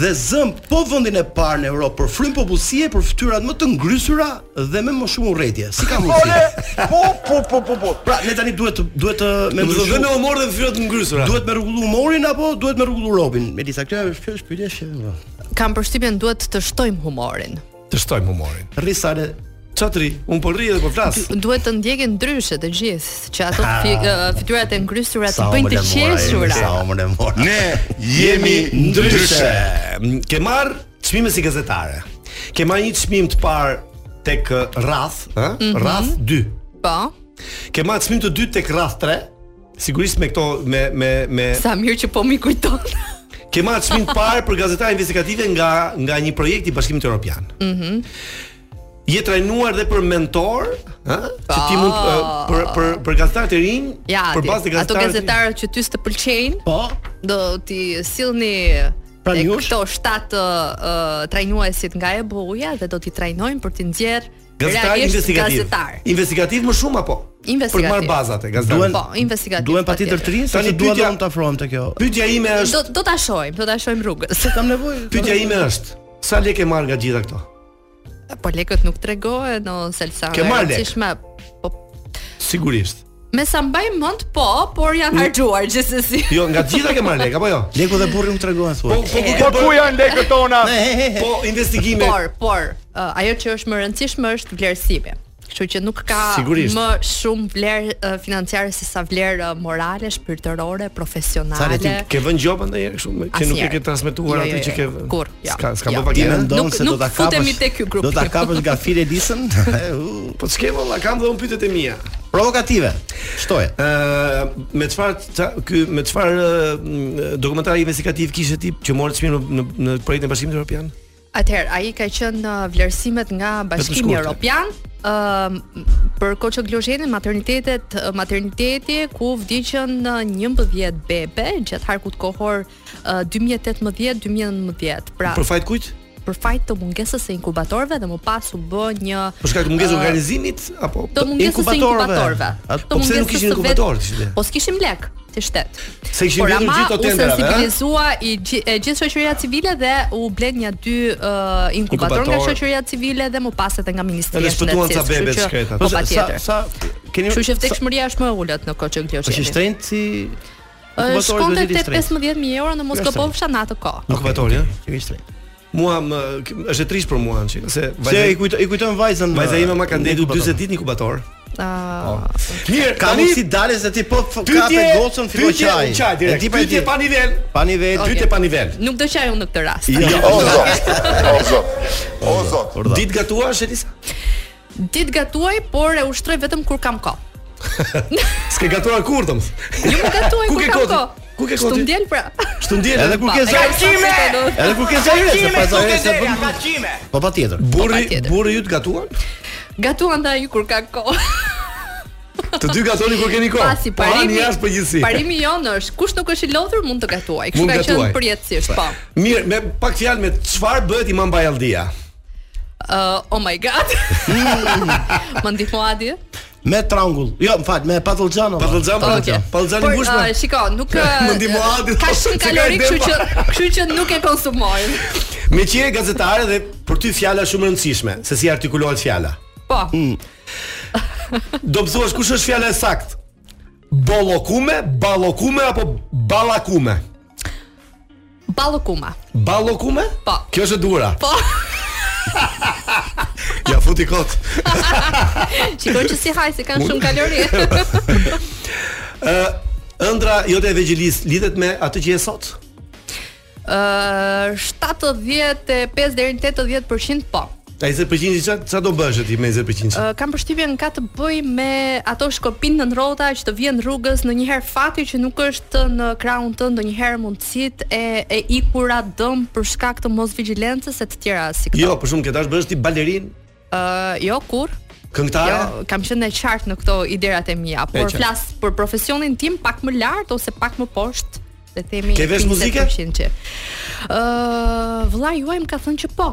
dhe zëm po vendin e parë në Europë për frykopullësie për fytyrat më të ngrysura dhe me më shumë urrëtie. Si ka mundësi?
Po, po, po, po, po.
Pra, ne tani duhet të- duhet uh, të
Me më
ndryshu-
dhe me humor dhe fyrat të ngrysura.
Duhet me rregullu humorin apo duhet me rregullu robin? Elisa, kjo është kjo është pyetja që
Kam përshtypjen duhet të shtojmë humorin.
të shtojmë humorin.
rrisale
Çatri, un po rri edhe po flas.
Duhet të ndjekin ndryshe të gjithë, që ato fi- ë, fytyrat e ngrysura të
Sa
bëjnë të
omële mora, jemi, Sa
qeshura.
omër e mora. Ne
Jemi ndryshe. Mm, Ke marr çmime si gazetare. Ke marr një çmim të parë tek eh, Rraf, ëh?
Mhm.
Rraf 2.
Po.
Ke marr çmim të dytë tek Rraf 3. Sigurisht me këto me me me
Sa mirë që po mi kujton.
ke marr çmim të parë për gazetare investigative nga nga një projekt i Bashkimit Evropian.
Mhm.
Je trajnuar dhe për mentor, ëh, që ti mund eh, për për për gazetar të rinj,
Ja,
për
ati,
bazë të
ato
gazetarëve. të-
gazetarët që ty s'të pëlqejnë,
po,
do ti sillni
Pra
e
njush?
këto 7 uh, trajnuesit nga e buja dhe do t'i trajnojnë për t'i nxjerr
Gazetar
realisht
investigativ.
Gazetar.
Investigativ më shumë apo? Për të
Investigativ.
marr bazat e
Duhen-
gazetarëve.
Po, investigativ.
duhen patjetër të rinë,
Tani
sepse dua
pyetja-
të të afrohem te kjo.
Pyetja ime është,
Do do ta shohim, do ta shohim rrugës.
Se kam nevojë.
pyetja ime është, sa lekë e marr nga gjitha këto?
Po lekët nuk tregohen o Selsa.
Ke marrë lek?
Po
Sigurisht.
me sa mbaj mend po, por janë harxhuar gjithsesi.
Jo, nga gjitha ke marr lekë apo jo?
Leku dhe burri nuk tregohen
Po,
thua.
po ku ke
Po ku janë lekët tona?
bërë? Po investigime.
Por, por, uh, ajo që është më rëndësishme është vlerësimi. Kështu që nuk ka
Sigurisht.
më shumë vlerë uh, financiare se sa vlerë uh, morale, shpirtërore,
Sa
profesionale.
le ti ke vënë gjopën ndonjëherë kështu me- që nuk e
Asnjëherë.
ke transmetuar
Jo,
atë
jo, jo.
që ke.
Kur, jo,
Ska ska
jo,
bë
Ti
vagina.
mendon
Nuk-
se do
nuk
ta kapësh.
futemi te ky grup.
Do ta kapësh nga file disën? E, u.
Po s'ke valla, kam dhe unë pyetjet e mia.
Provokative. Shtoje.
Ë me çfarë ça- ky me çfarë ë, dokumentar investigativ kishte ti që morë çmim në në projektin e Bashkimit Evropian?
Atëherë, ai ka qenë uh, vlerësimet nga Bashkimi
shkurtër.
Evropian ëm për koçoglozhenin maternitetet uh, materniteti ku vdiqën uh, 11 bebe gjatë harkut kohor uh, 2018-2019. Pra
Për fajt kujt?
për fajt të mungesës së inkubatorëve dhe më pas u bë një
Për shkak të mungesës
ë,
organizimit apo
të mungesës së inkubatorëve.
Atë-
Të
Po pse nuk
mungesës
kishin
së vet-
inkubator ishte?
Po s'kishim lek të shtet.
Se kishin vjedhur
ama
gjithë
eh?
ato
U
tenderave, ha?
sensibilizua i gji- e gjithë shoqëria civile dhe u blen një dy uh, inkubator nga
Inkubator.
shoqëria civile dhe më pas edhe nga Ministria
Edhe
e
shpëtuan
Shëndetësisë.
ca bebe
kështu që-
shkreta. Po,
Po
sa-
patjetër.
sa- keni-
Kështu që
sa-
vdekshmëria është më e ulët në Koçë Gloshenin.
Është i shtrenjtë si
Ë,
inkubatori
Shkonte
duhet të jetë i
te
shtrenjtë.
15000 euro në
Është Hm.
Moskopov në atë kohë.
Inkubatori, ëh?
Që ishte.
Mua më, k- është e trisht për mua, Ançi, se
Se i kujto i kujton vajzën. uh,
Vajza ime ma ka ndetur
inkubator.
40 ditë në inkubator.
Ah.
Mirë,
Ka
tani-
mundsi dalë se ti po f-
Pytje-
kape gocën filloj
pytje-
çaj.
çaj direkt. Pytje pa Jo, nivel.
Pa nivel,
Okej.
pyetje pa nivel.
Nuk do qaj unë në këtë rast.
Jo.
O zot.
O zot. Ditë gatuash Elisa?
Ditë gatuaj, por e ushtroj vetëm kur kam kohë.
S'ke gatuar kur të më thë.
Jo më gatuaj
Ku
kur
ke
kam
koti?
kohë.
Ku ke
Shtu
koti?
ndjel pra.
Shtu ndjel
Edhe kur ke zajë. Edhe kur ke zajë, se pas zajë se bën. Po patjetër.
Burri, burri ju të gatuan?
Gatuan ndaj ju kur ka kohë.
Të dy gatoni kur keni kohë.
Pasi
Po, ani
parimi.
jashtë përgjithësi.
Parimi jon është kush nuk është i lodhur mund të gatuaj. Kështu
Mund
ka
gatuaj.
qenë përjetësisht, po.
Mirë, me pak fjalë me çfarë bëhet Imam Bajaldia?
Ë, oh my god.
Mm.
Më ndihmo Adi?
Me trangull. Jo, më fal, me patallxhan.
Patallxhan, patallxhan. Patallxhan
Por, ë, shiko, nuk ë,
Më ndihmo Adi,
po,
Ka
se
shumë
ka
kalori, kështu
idepa.
që kështu që nuk e konsumojmë.
Me qire gazetare dhe për ty fjala shumë e rëndësishme, se si artikulohet fjala.
Po.
Mm. Do më thuash kush është fjala e saktë? Bollokume, ballokume apo ballakume?
Ballokuma.
Ballokume?
Po.
Kjo është e dura.
Po.
ja futi kot.
Shikoj që si haj se kanë shumë kalori.
Ë, ëndra jote e vegjëlis lidhet me atë që je sot?
Ë, 75 deri në 80% po.
Ai 20% çfarë çfarë do bësh ti me 20%?
Ë, kam përshtypjen ka të bëj me ato shkopinë në rrota që të vijnë rrugës ndonjëherë fati që nuk është në krahun të ndonjëherë mundësitë e e ikura dëm për shkak të mosvigjilencës e të tjera si këto.
Jo, për shumë ke dash bësh ti balerin,
Ë, jo kur.
këngëtare?
Jo, kam qenë e qartë në këto iderat e mia, por
qartë.
flas për profesionin tim pak më lart ose pak më poshtë, le të themi
Ke vesh
50%
muzike?
që. Ë, vëllai juaj më ka thënë që po.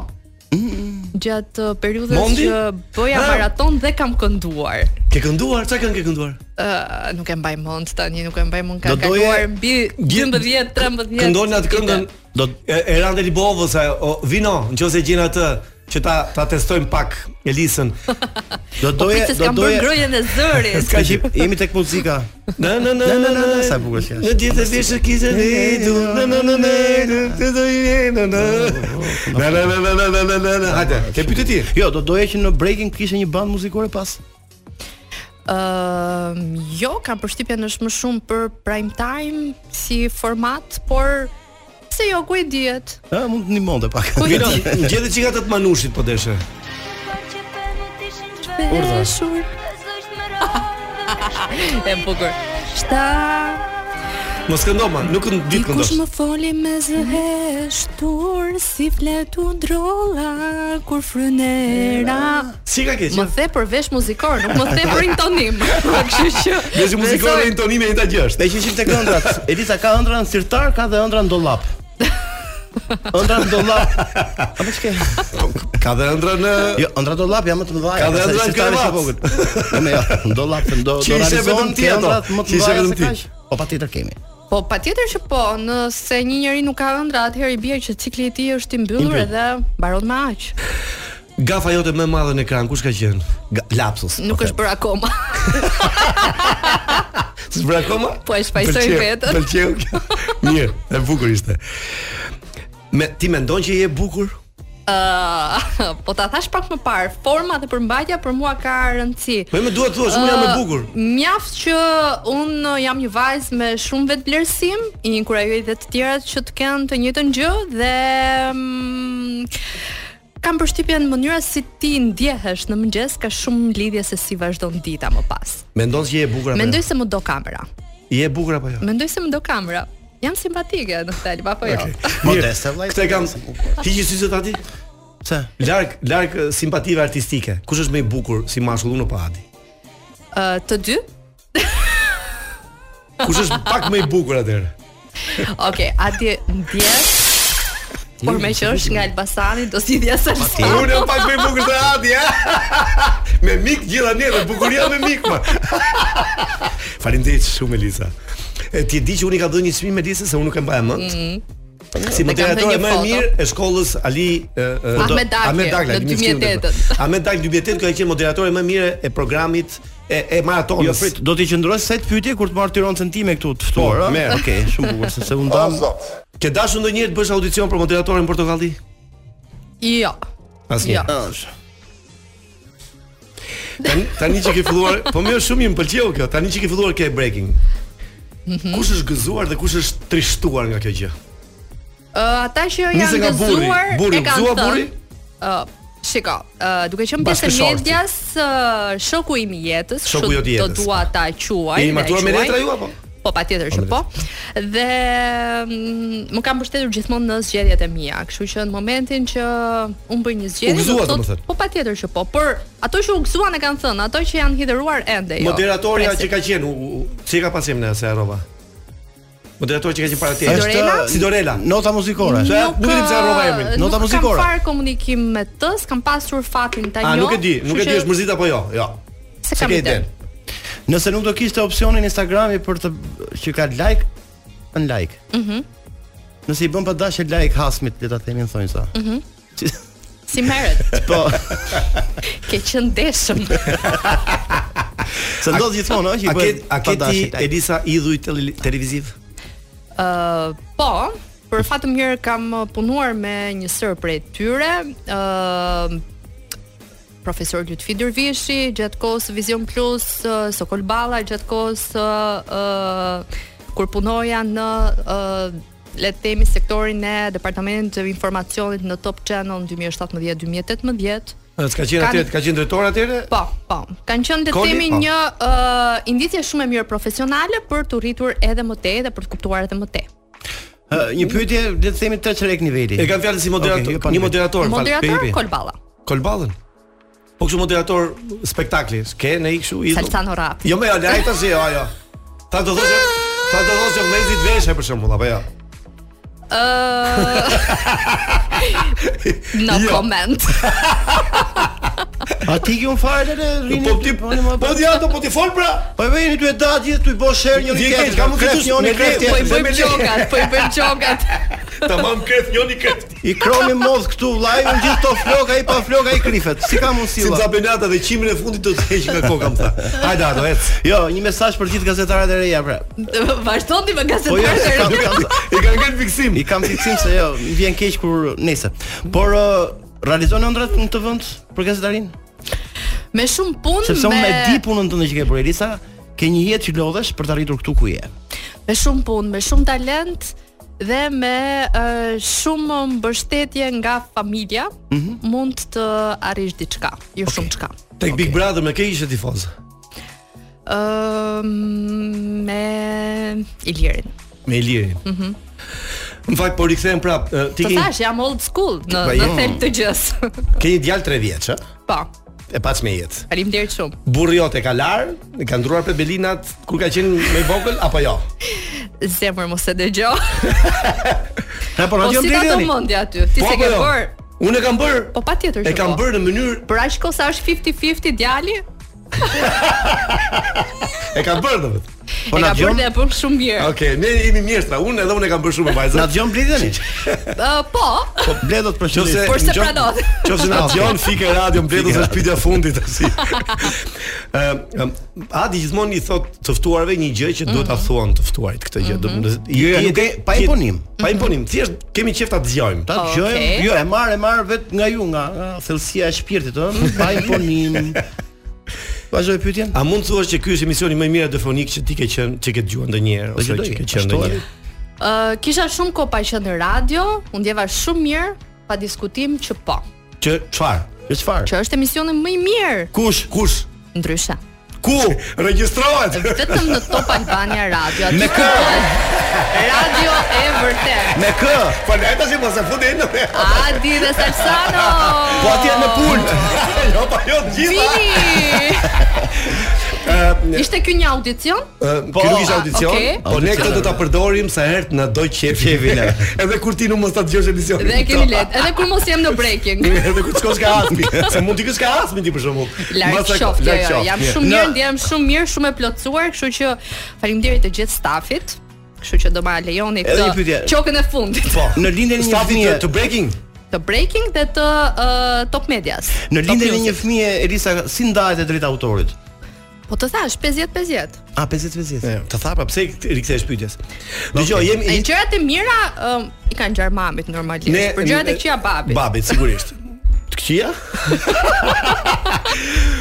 Gjatë uh, periudhës
Mondi?
që bëja
Ah.
maraton dhe kam kënduar.
Ke kënduar? Çfarë këngë ke kënduar?
Ë, nuk e mbaj mend tani, nuk e mbaj mend ka
Do doje-
kaluar mbi 12, 13.
Këndon atë këngën do e, e Rande Libovës ajo o, vino, nëse gjen atë që ta ta testojmë pak Elisën. Do
Po pritet s'kam bërë grojen e zërit.
Ska që
jemi tek muzika.
Na na na
Na, na,
na
na,
na
sa bukur që është.
Në ditë e veshë kisë vedu. Na na na na. Të do i na na. Na na na na na na na. Hajde, ke pyetje ti?
Jo, do doja që në breaking kishte një band muzikore pas.
Ëm, jo, kam përshtypjen është më shumë për prime time si format, por pse jo ku i dihet?
Ë, mund të ndihmonte pak.
Po,
Vino,
jo.
Gjeti çikat të Manushit po deshe. Urdhër.
Shpeshur. e bukur. Shta
Mos këndo ma, nuk në ditë këndosh.
Kush më foli me zëheshtur Si fletu drolla Kur frynera
Si ka keq?
Më the për vesh muzikor Nuk më the për intonim Kështu që
Vesh Jo, muzikore
besoj-
intonime e ta gjësh.
Ne që ishim tek ëndrat. Elisa ka ëndra në sirtar, ka dhe ëndra në dollap. Ëndra në dollap.
po,
Apo çka?
Ka dhe ëndra në
Jo, ëndra në dollap janë më të mëdha.
Ka dhe ëndra në krevat.
Jo, me jo, në dollap do do
Që ishe vetëm
realizohen
ti ato,
ëndrat më
që
të
ishe vetëm ti.
mëdha. Po patjetër kemi.
Po patjetër që po, nëse një njeri nuk ka ëndra, atëherë i bie që cikli i tij është i mbyllur
I mbyll.
edhe mbaron me aq.
Gafa jote më e madhe në ekran, kush ka qenë? Ga- Lapsus.
Nuk është bërë akoma.
S'bër akoma?
Po e shpajsoj
Pëlqeu,
vetën.
Pëlqeu. kjo. Mirë, e bukur ishte. Me ti mendon që je bukur?
Ë, po ta thash pak më parë, forma dhe përmbajtja për mua ka rëndësi.
Po, e më duhet thuash, unë jam e
Ë,
bukur.
Mjaft që unë jam një vajzë me shumë vetvlerësim, i inkurajoj dhe të tjerat që të kenë të njëjtën gjë dhe mm, kam përshtypjen mënyra si ti ndjehesh në mëngjes ka shumë lidhje se si vazhdon dita më pas.
Mendon se je e bukur apo? jo?
Mendoj se më do kamera.
Je e bukur apo jo?
Mendoj se më do kamera. Jam simpatike në këtë apo jo? Okay.
Modeste vllai.
Këtë kam. Hiqi syzet aty.
Pse?
Larg larg eh, simpative artistike. Kush është më i bukur si mashkull unë apo Adi?
Ë, të dy?
Kush është pak më i bukur atëherë?
Okej, atje ndjes. Por me që është nga Elbasani, do si dhja salsa.
Unë jam pak më i bukur se Adi, ha? me mik gjitha neve, bukuria me mik, ma. Faleminderit shumë Elisa. E, Ti e di që unë i kam dhënë një çmim Elisa se unë nuk e mbaj mend. Si
Mm-hmm. Dhe kam
moderatore
dhënë një
më e
foto.
mirë e shkollës Ali e, e, do-
Ahmet Dagli, në
Dagli,
2008.
Ahmet Dagli 2008 ka qenë moderatore më e mirë e programit e, e maratonës.
Jo, prit, do t'i qëndrosh sa të pyetje kur të marr Tiranën time këtu të ftuar, ëh?
Merë.
Okej, shumë bukur, sepse unë dam.
Ke dashur ndonjëherë të bësh audicion për moderatorin portokalli?
Jo.
Asnjë. Ja. Tani, tani që ke filluar, po më shumë i më pëlqeu kjo. Tani që ke filluar ke breaking.
Mhm.
Kush është gëzuar dhe kush është trishtuar nga kjo gjë?
Ë, ata që janë
Nisi nga burri.
gëzuar
Burri,
e kanë
gëzua
thënë.
burri?
Ë, shiko, ë, duke qenë pjesë e
Bashkëshorti.
medias, ë, shoku im i jetës,
Shoku
kështu
jot i jetës.
do dua ta quaj.
Jeni
na e
martuar me
quaj.
letra ju apo?
Po patjetër që po. Dhe mm, më kam mbështetur gjithmonë në zgjedhjet e mia, kështu që në momentin që un bëj një
U
zgjedhje,
gëzua,
do të
domethënë.
po patjetër që po, por ato që u gëzuan e kanë thënë, ato që janë hidhuruar ende jo.
Moderatoria
Presim.
që ka qenë, u, u, si ka pasim në se harrova? Moderatorja që ka qenë para teje.
Sidorela?
Sidorela.
Nota muzikore.
Se nuk e di pse harrova emrin. Nota
Nuk
muzikore.
kam farë komunikim me të, s'kam pasur fatin ta
A
njoh.
nuk e di, nuk e di është mërzit apo jo? Jo.
Se kam ide.
Nëse nuk do kishte opsionin Instagrami për të që ka like, un like.
Mhm.
Nëse i bën pa dashje like hasmit, le ta themin thonë sa.
Mhm. Si merret?
Po,
Ke qenë ndeshëm.
se ndodh gjithmonë, ëh, që i
A ke
bën.
a ke ti
padashje like.
Elisa idhuj tele- televiziv?
Ë, po, për fat të mirë kam punuar me një sër prej tyre, ë profesor Lutfi Dervishi, gjatë kohës Vision Plus, ë, Sokol Balla, gjatë kohës ë ë, kur punoja në ë le të themi sektorin e departamentit të informacionit në Top Channel në 2017-2018.
S'ka qenë
Kanë-
atëherë, ka qenë drejtor atëherë?
Po, po. Kanë qenë le të
Koli,
themi
po.
një uh, inditje shumë e mirë profesionale për të rritur edhe më tej dhe për të kuptuar edhe më tej.
Ë, Një pyetje, le të themi të çrek niveli.
E kanë fjalën si moderator,
Okej, jo, pa
një
nivel.
moderator, fal,
Moderator po
Pepi.
Kolballa.
Kolballën. Po kështu moderator spektakli, s'ke ne i kështu i.
Salsano Rap.
Jo më lajt tash, jo, jo. Ta do thoshë, ta do thoshë mezit veshë për shembull, apo jo.
Ë No
Jo.
comment.
A ti gjun fare të rini. Po ti
Po di ato, po ti fol pra.
Po e vini ty e datë gjithë ty i bosh share një
Di e
tjetër.
keq, ka mund të
kreth
thush
njëri,
me
kreth
kreth,
tjetër.
po i bëjmë
Me lekë.
Çokat, po i bën çokat.
Tamam kreth joni kreth.
I kromi modh këtu vllai, unë gjithë to flok ai pa flok ai krifet. Si ka mundësi
Si
vlla?
zabenata dhe qimin e fundit do të heq nga koka më tha. Hajde ato, ec.
Jo, një mesazh për gjithë gazetarët e reja pra.
Vazhdoni me
Po jo, se
gazetarët.
kam, kam,
i kam gjetur fiksim.
I kam fiksim se jo, më vjen keq kur nesër. Por uh, realizon ëndrat në këtë vend për gazetarin?
me shumë punë,
Sepse unë
me
e di punën tënde që ke bërë Elisa, ke një jetë që lodhesh për të arritur këtu ku je.
me shumë punë, me shumë talent dhe me uh, shumë mbështetje nga familja
Mhm.
mund të arrish diçka, jo shumë çka.
Tek Big Brother me ke ishe tifoz.
Ëm me Ilirin.
Me Ilirin.
Mhm.
Në fakt po rikthem prap, e, ti
Të
ke
thash jam old school në
Po,
në
jo.
thelb të gjës.
ke një djalë 3 vjeç, ë?
po.
E paç me jetë.
Faleminderit shumë.
Burri jot e ka lar, e ka ndruar për Belinat kur ka qenë më i vogël apo jo?
Zemër mos e dëgjoj.
Na po
Po
na jam
si ta
deri
do
tani.
mendja aty? Ti
Po,
se
apo
ke
jo?
bër.
Unë e kam bër.
Po patjetër që.
E kam
po.
bërë në mënyrë,
Për aq kohë sa është 50-50 djali,
e kam bërë domethënë. Po,
e ka bërë dhe e bën shumë mirë.
Okej, ne jemi mjeshtra. Unë edhe unë e kam bërë shumë e vajza.
Na dëgjon Bledi tani?
Ë, po,
Po bledot për
Qose
por se pranon.
Qofse
Ah,
na dëgjon fikë radio mbledhës
Fikë
është pyetja e fundit tash. Ëm ëm, Adi gjithmonë i thot të ftuarve një gjë që duhet ta
Mhm.
thuan të ftuarit këtë gjë. Domethënë,
Jo, jo, nuk e- pa imponim.
Pa imponim. Thjesht kemi qejf ta dëgjojmë.
Ta dëgjojmë. Jo, e marr, e marr vet nga ju, nga nga thellësia e shpirtit, ëh, pa imponim. Vazhdoj pyetjen.
A mund të thuash që ky është emisioni më i mirë radiofonik që ti ke qenë, që ke dëgjuar ndonjëherë ose
që
që
doj,
ke qenë
ashtu
ndonjëherë?
Ë, kisha shumë kohë pa qenë në radio, u ndjeva shumë mirë, pa diskutim që po.
Që çfarë? Që çfarë?
Që është emisioni më i mirë.
Kush? Kush?
Ndryshe.
Ku? Regjistrohet.
Vetëm në Top Albania Radio. aty
Me
ku
kë?
ka Radio e vërtet.
Me kë?
Po le tash mos e futi në.
Adi dhe Salsano.
Po atje në pult. jo,
po
pa jo të
Vini!
Ë,
Ishte ky një audicion?
Ë, Ky nuk ishte
a,
audicion,
okay.
po ne këtë do ta përdorim sa herë të na do qefi.
Qefi, ne.
Edhe kur ti nuk mos ta dëgjosh emisionin.
Dhe e kemi lehtë, edhe kur mos jem në breaking.
Edhe kur të shkosh ka asmi, se mund të kesh ka asmi ti për shembull.
Larg
Masa-
qoftë,
larg
jo, jo,
qoftë.
jam
Mirë.
shumë
Na-
mirë, ndjehem shumë mirë, shumë e plotësuar, kështu që faleminderit të gjithë stafit. Kështu që do ma lejoni
Edhe një pytje.
këtë qokën e fundit.
Po, në lindjen e një
Stafi
fëmije
të- të breaking
Të breaking dhe të uh, top medias.
Në
Top
lindjen e një
music.
fëmije Elisa si ndahet e drejtë autorit?
Po të thash 50-50.
A
Jo.
50-50. Të tha pra pse i rikthesh pyetjes. Dgjoj, jemi
E gjërat e mira um, i kanë gjar mamit normalisht,
Ne-
por gjërat e këqija babit.
babit sigurisht. Të këqija?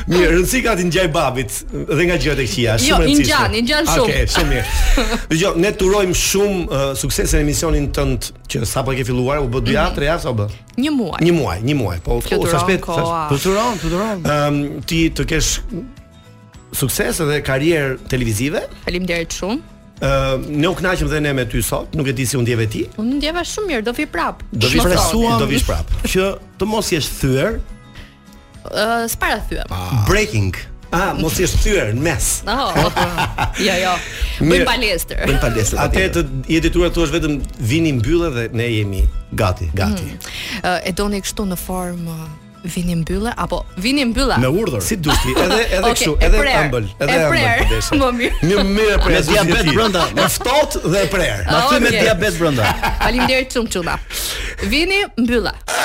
Mirë, rëndësi ka ti ngjaj babit dhe nga gjërat e këqija, shumë
Jo, i
e rëndësishme.
ngjan, i ngjan shumë.
Okej, shumë mirë. Dgjoj, ne turojmë shumë uh, sukses në emisionin tënd që sapo e ke filluar, u bë
Mhm.
2 javë, 3 javë sa u bë?
Një muaj.
Një muaj, një muaj. Po, po
Fluturon
sa shpejt. sa-
koha.
Fluturon, fluturon.
Ëm ti të kesh sukses edhe karrierë televizive.
Faleminderit shumë.
Ë ne u kënaqëm dhe ne me ty sot, nuk e di si u ndjeve ti.
Unë ndjeva shumë mirë, do vi prap.
Do vish
Shpresoni.
prap. Do vish prap.
që të mos jesh thyer,
Ë, s'para thyem.
breaking.
Ah, mos jesh thyer në mes.
Oh, jo, jo. Bëjmë palestër.
Bëjmë palestër.
Atë të je detyruar të thuash vetëm vini mbyllë dhe ne jemi gati, gati.
Ë, e doni kështu në formë ë, vini mbyllë apo vini mbylla?
Me urdhër. Si dush ti, edhe edhe
Okej,
kështu,
e
edhe
prerë,
ëmbël, edhe
e
ëmbël
prerë,
të desha.
Më mirë.
Mirë, mirë e prerë.
Me diabet
si ti.
brenda.
Me ftohtë dhe e prerë.
Ma thy me Okej. diabet
brenda.
Faleminderit shumë çuna. Vini mbylla.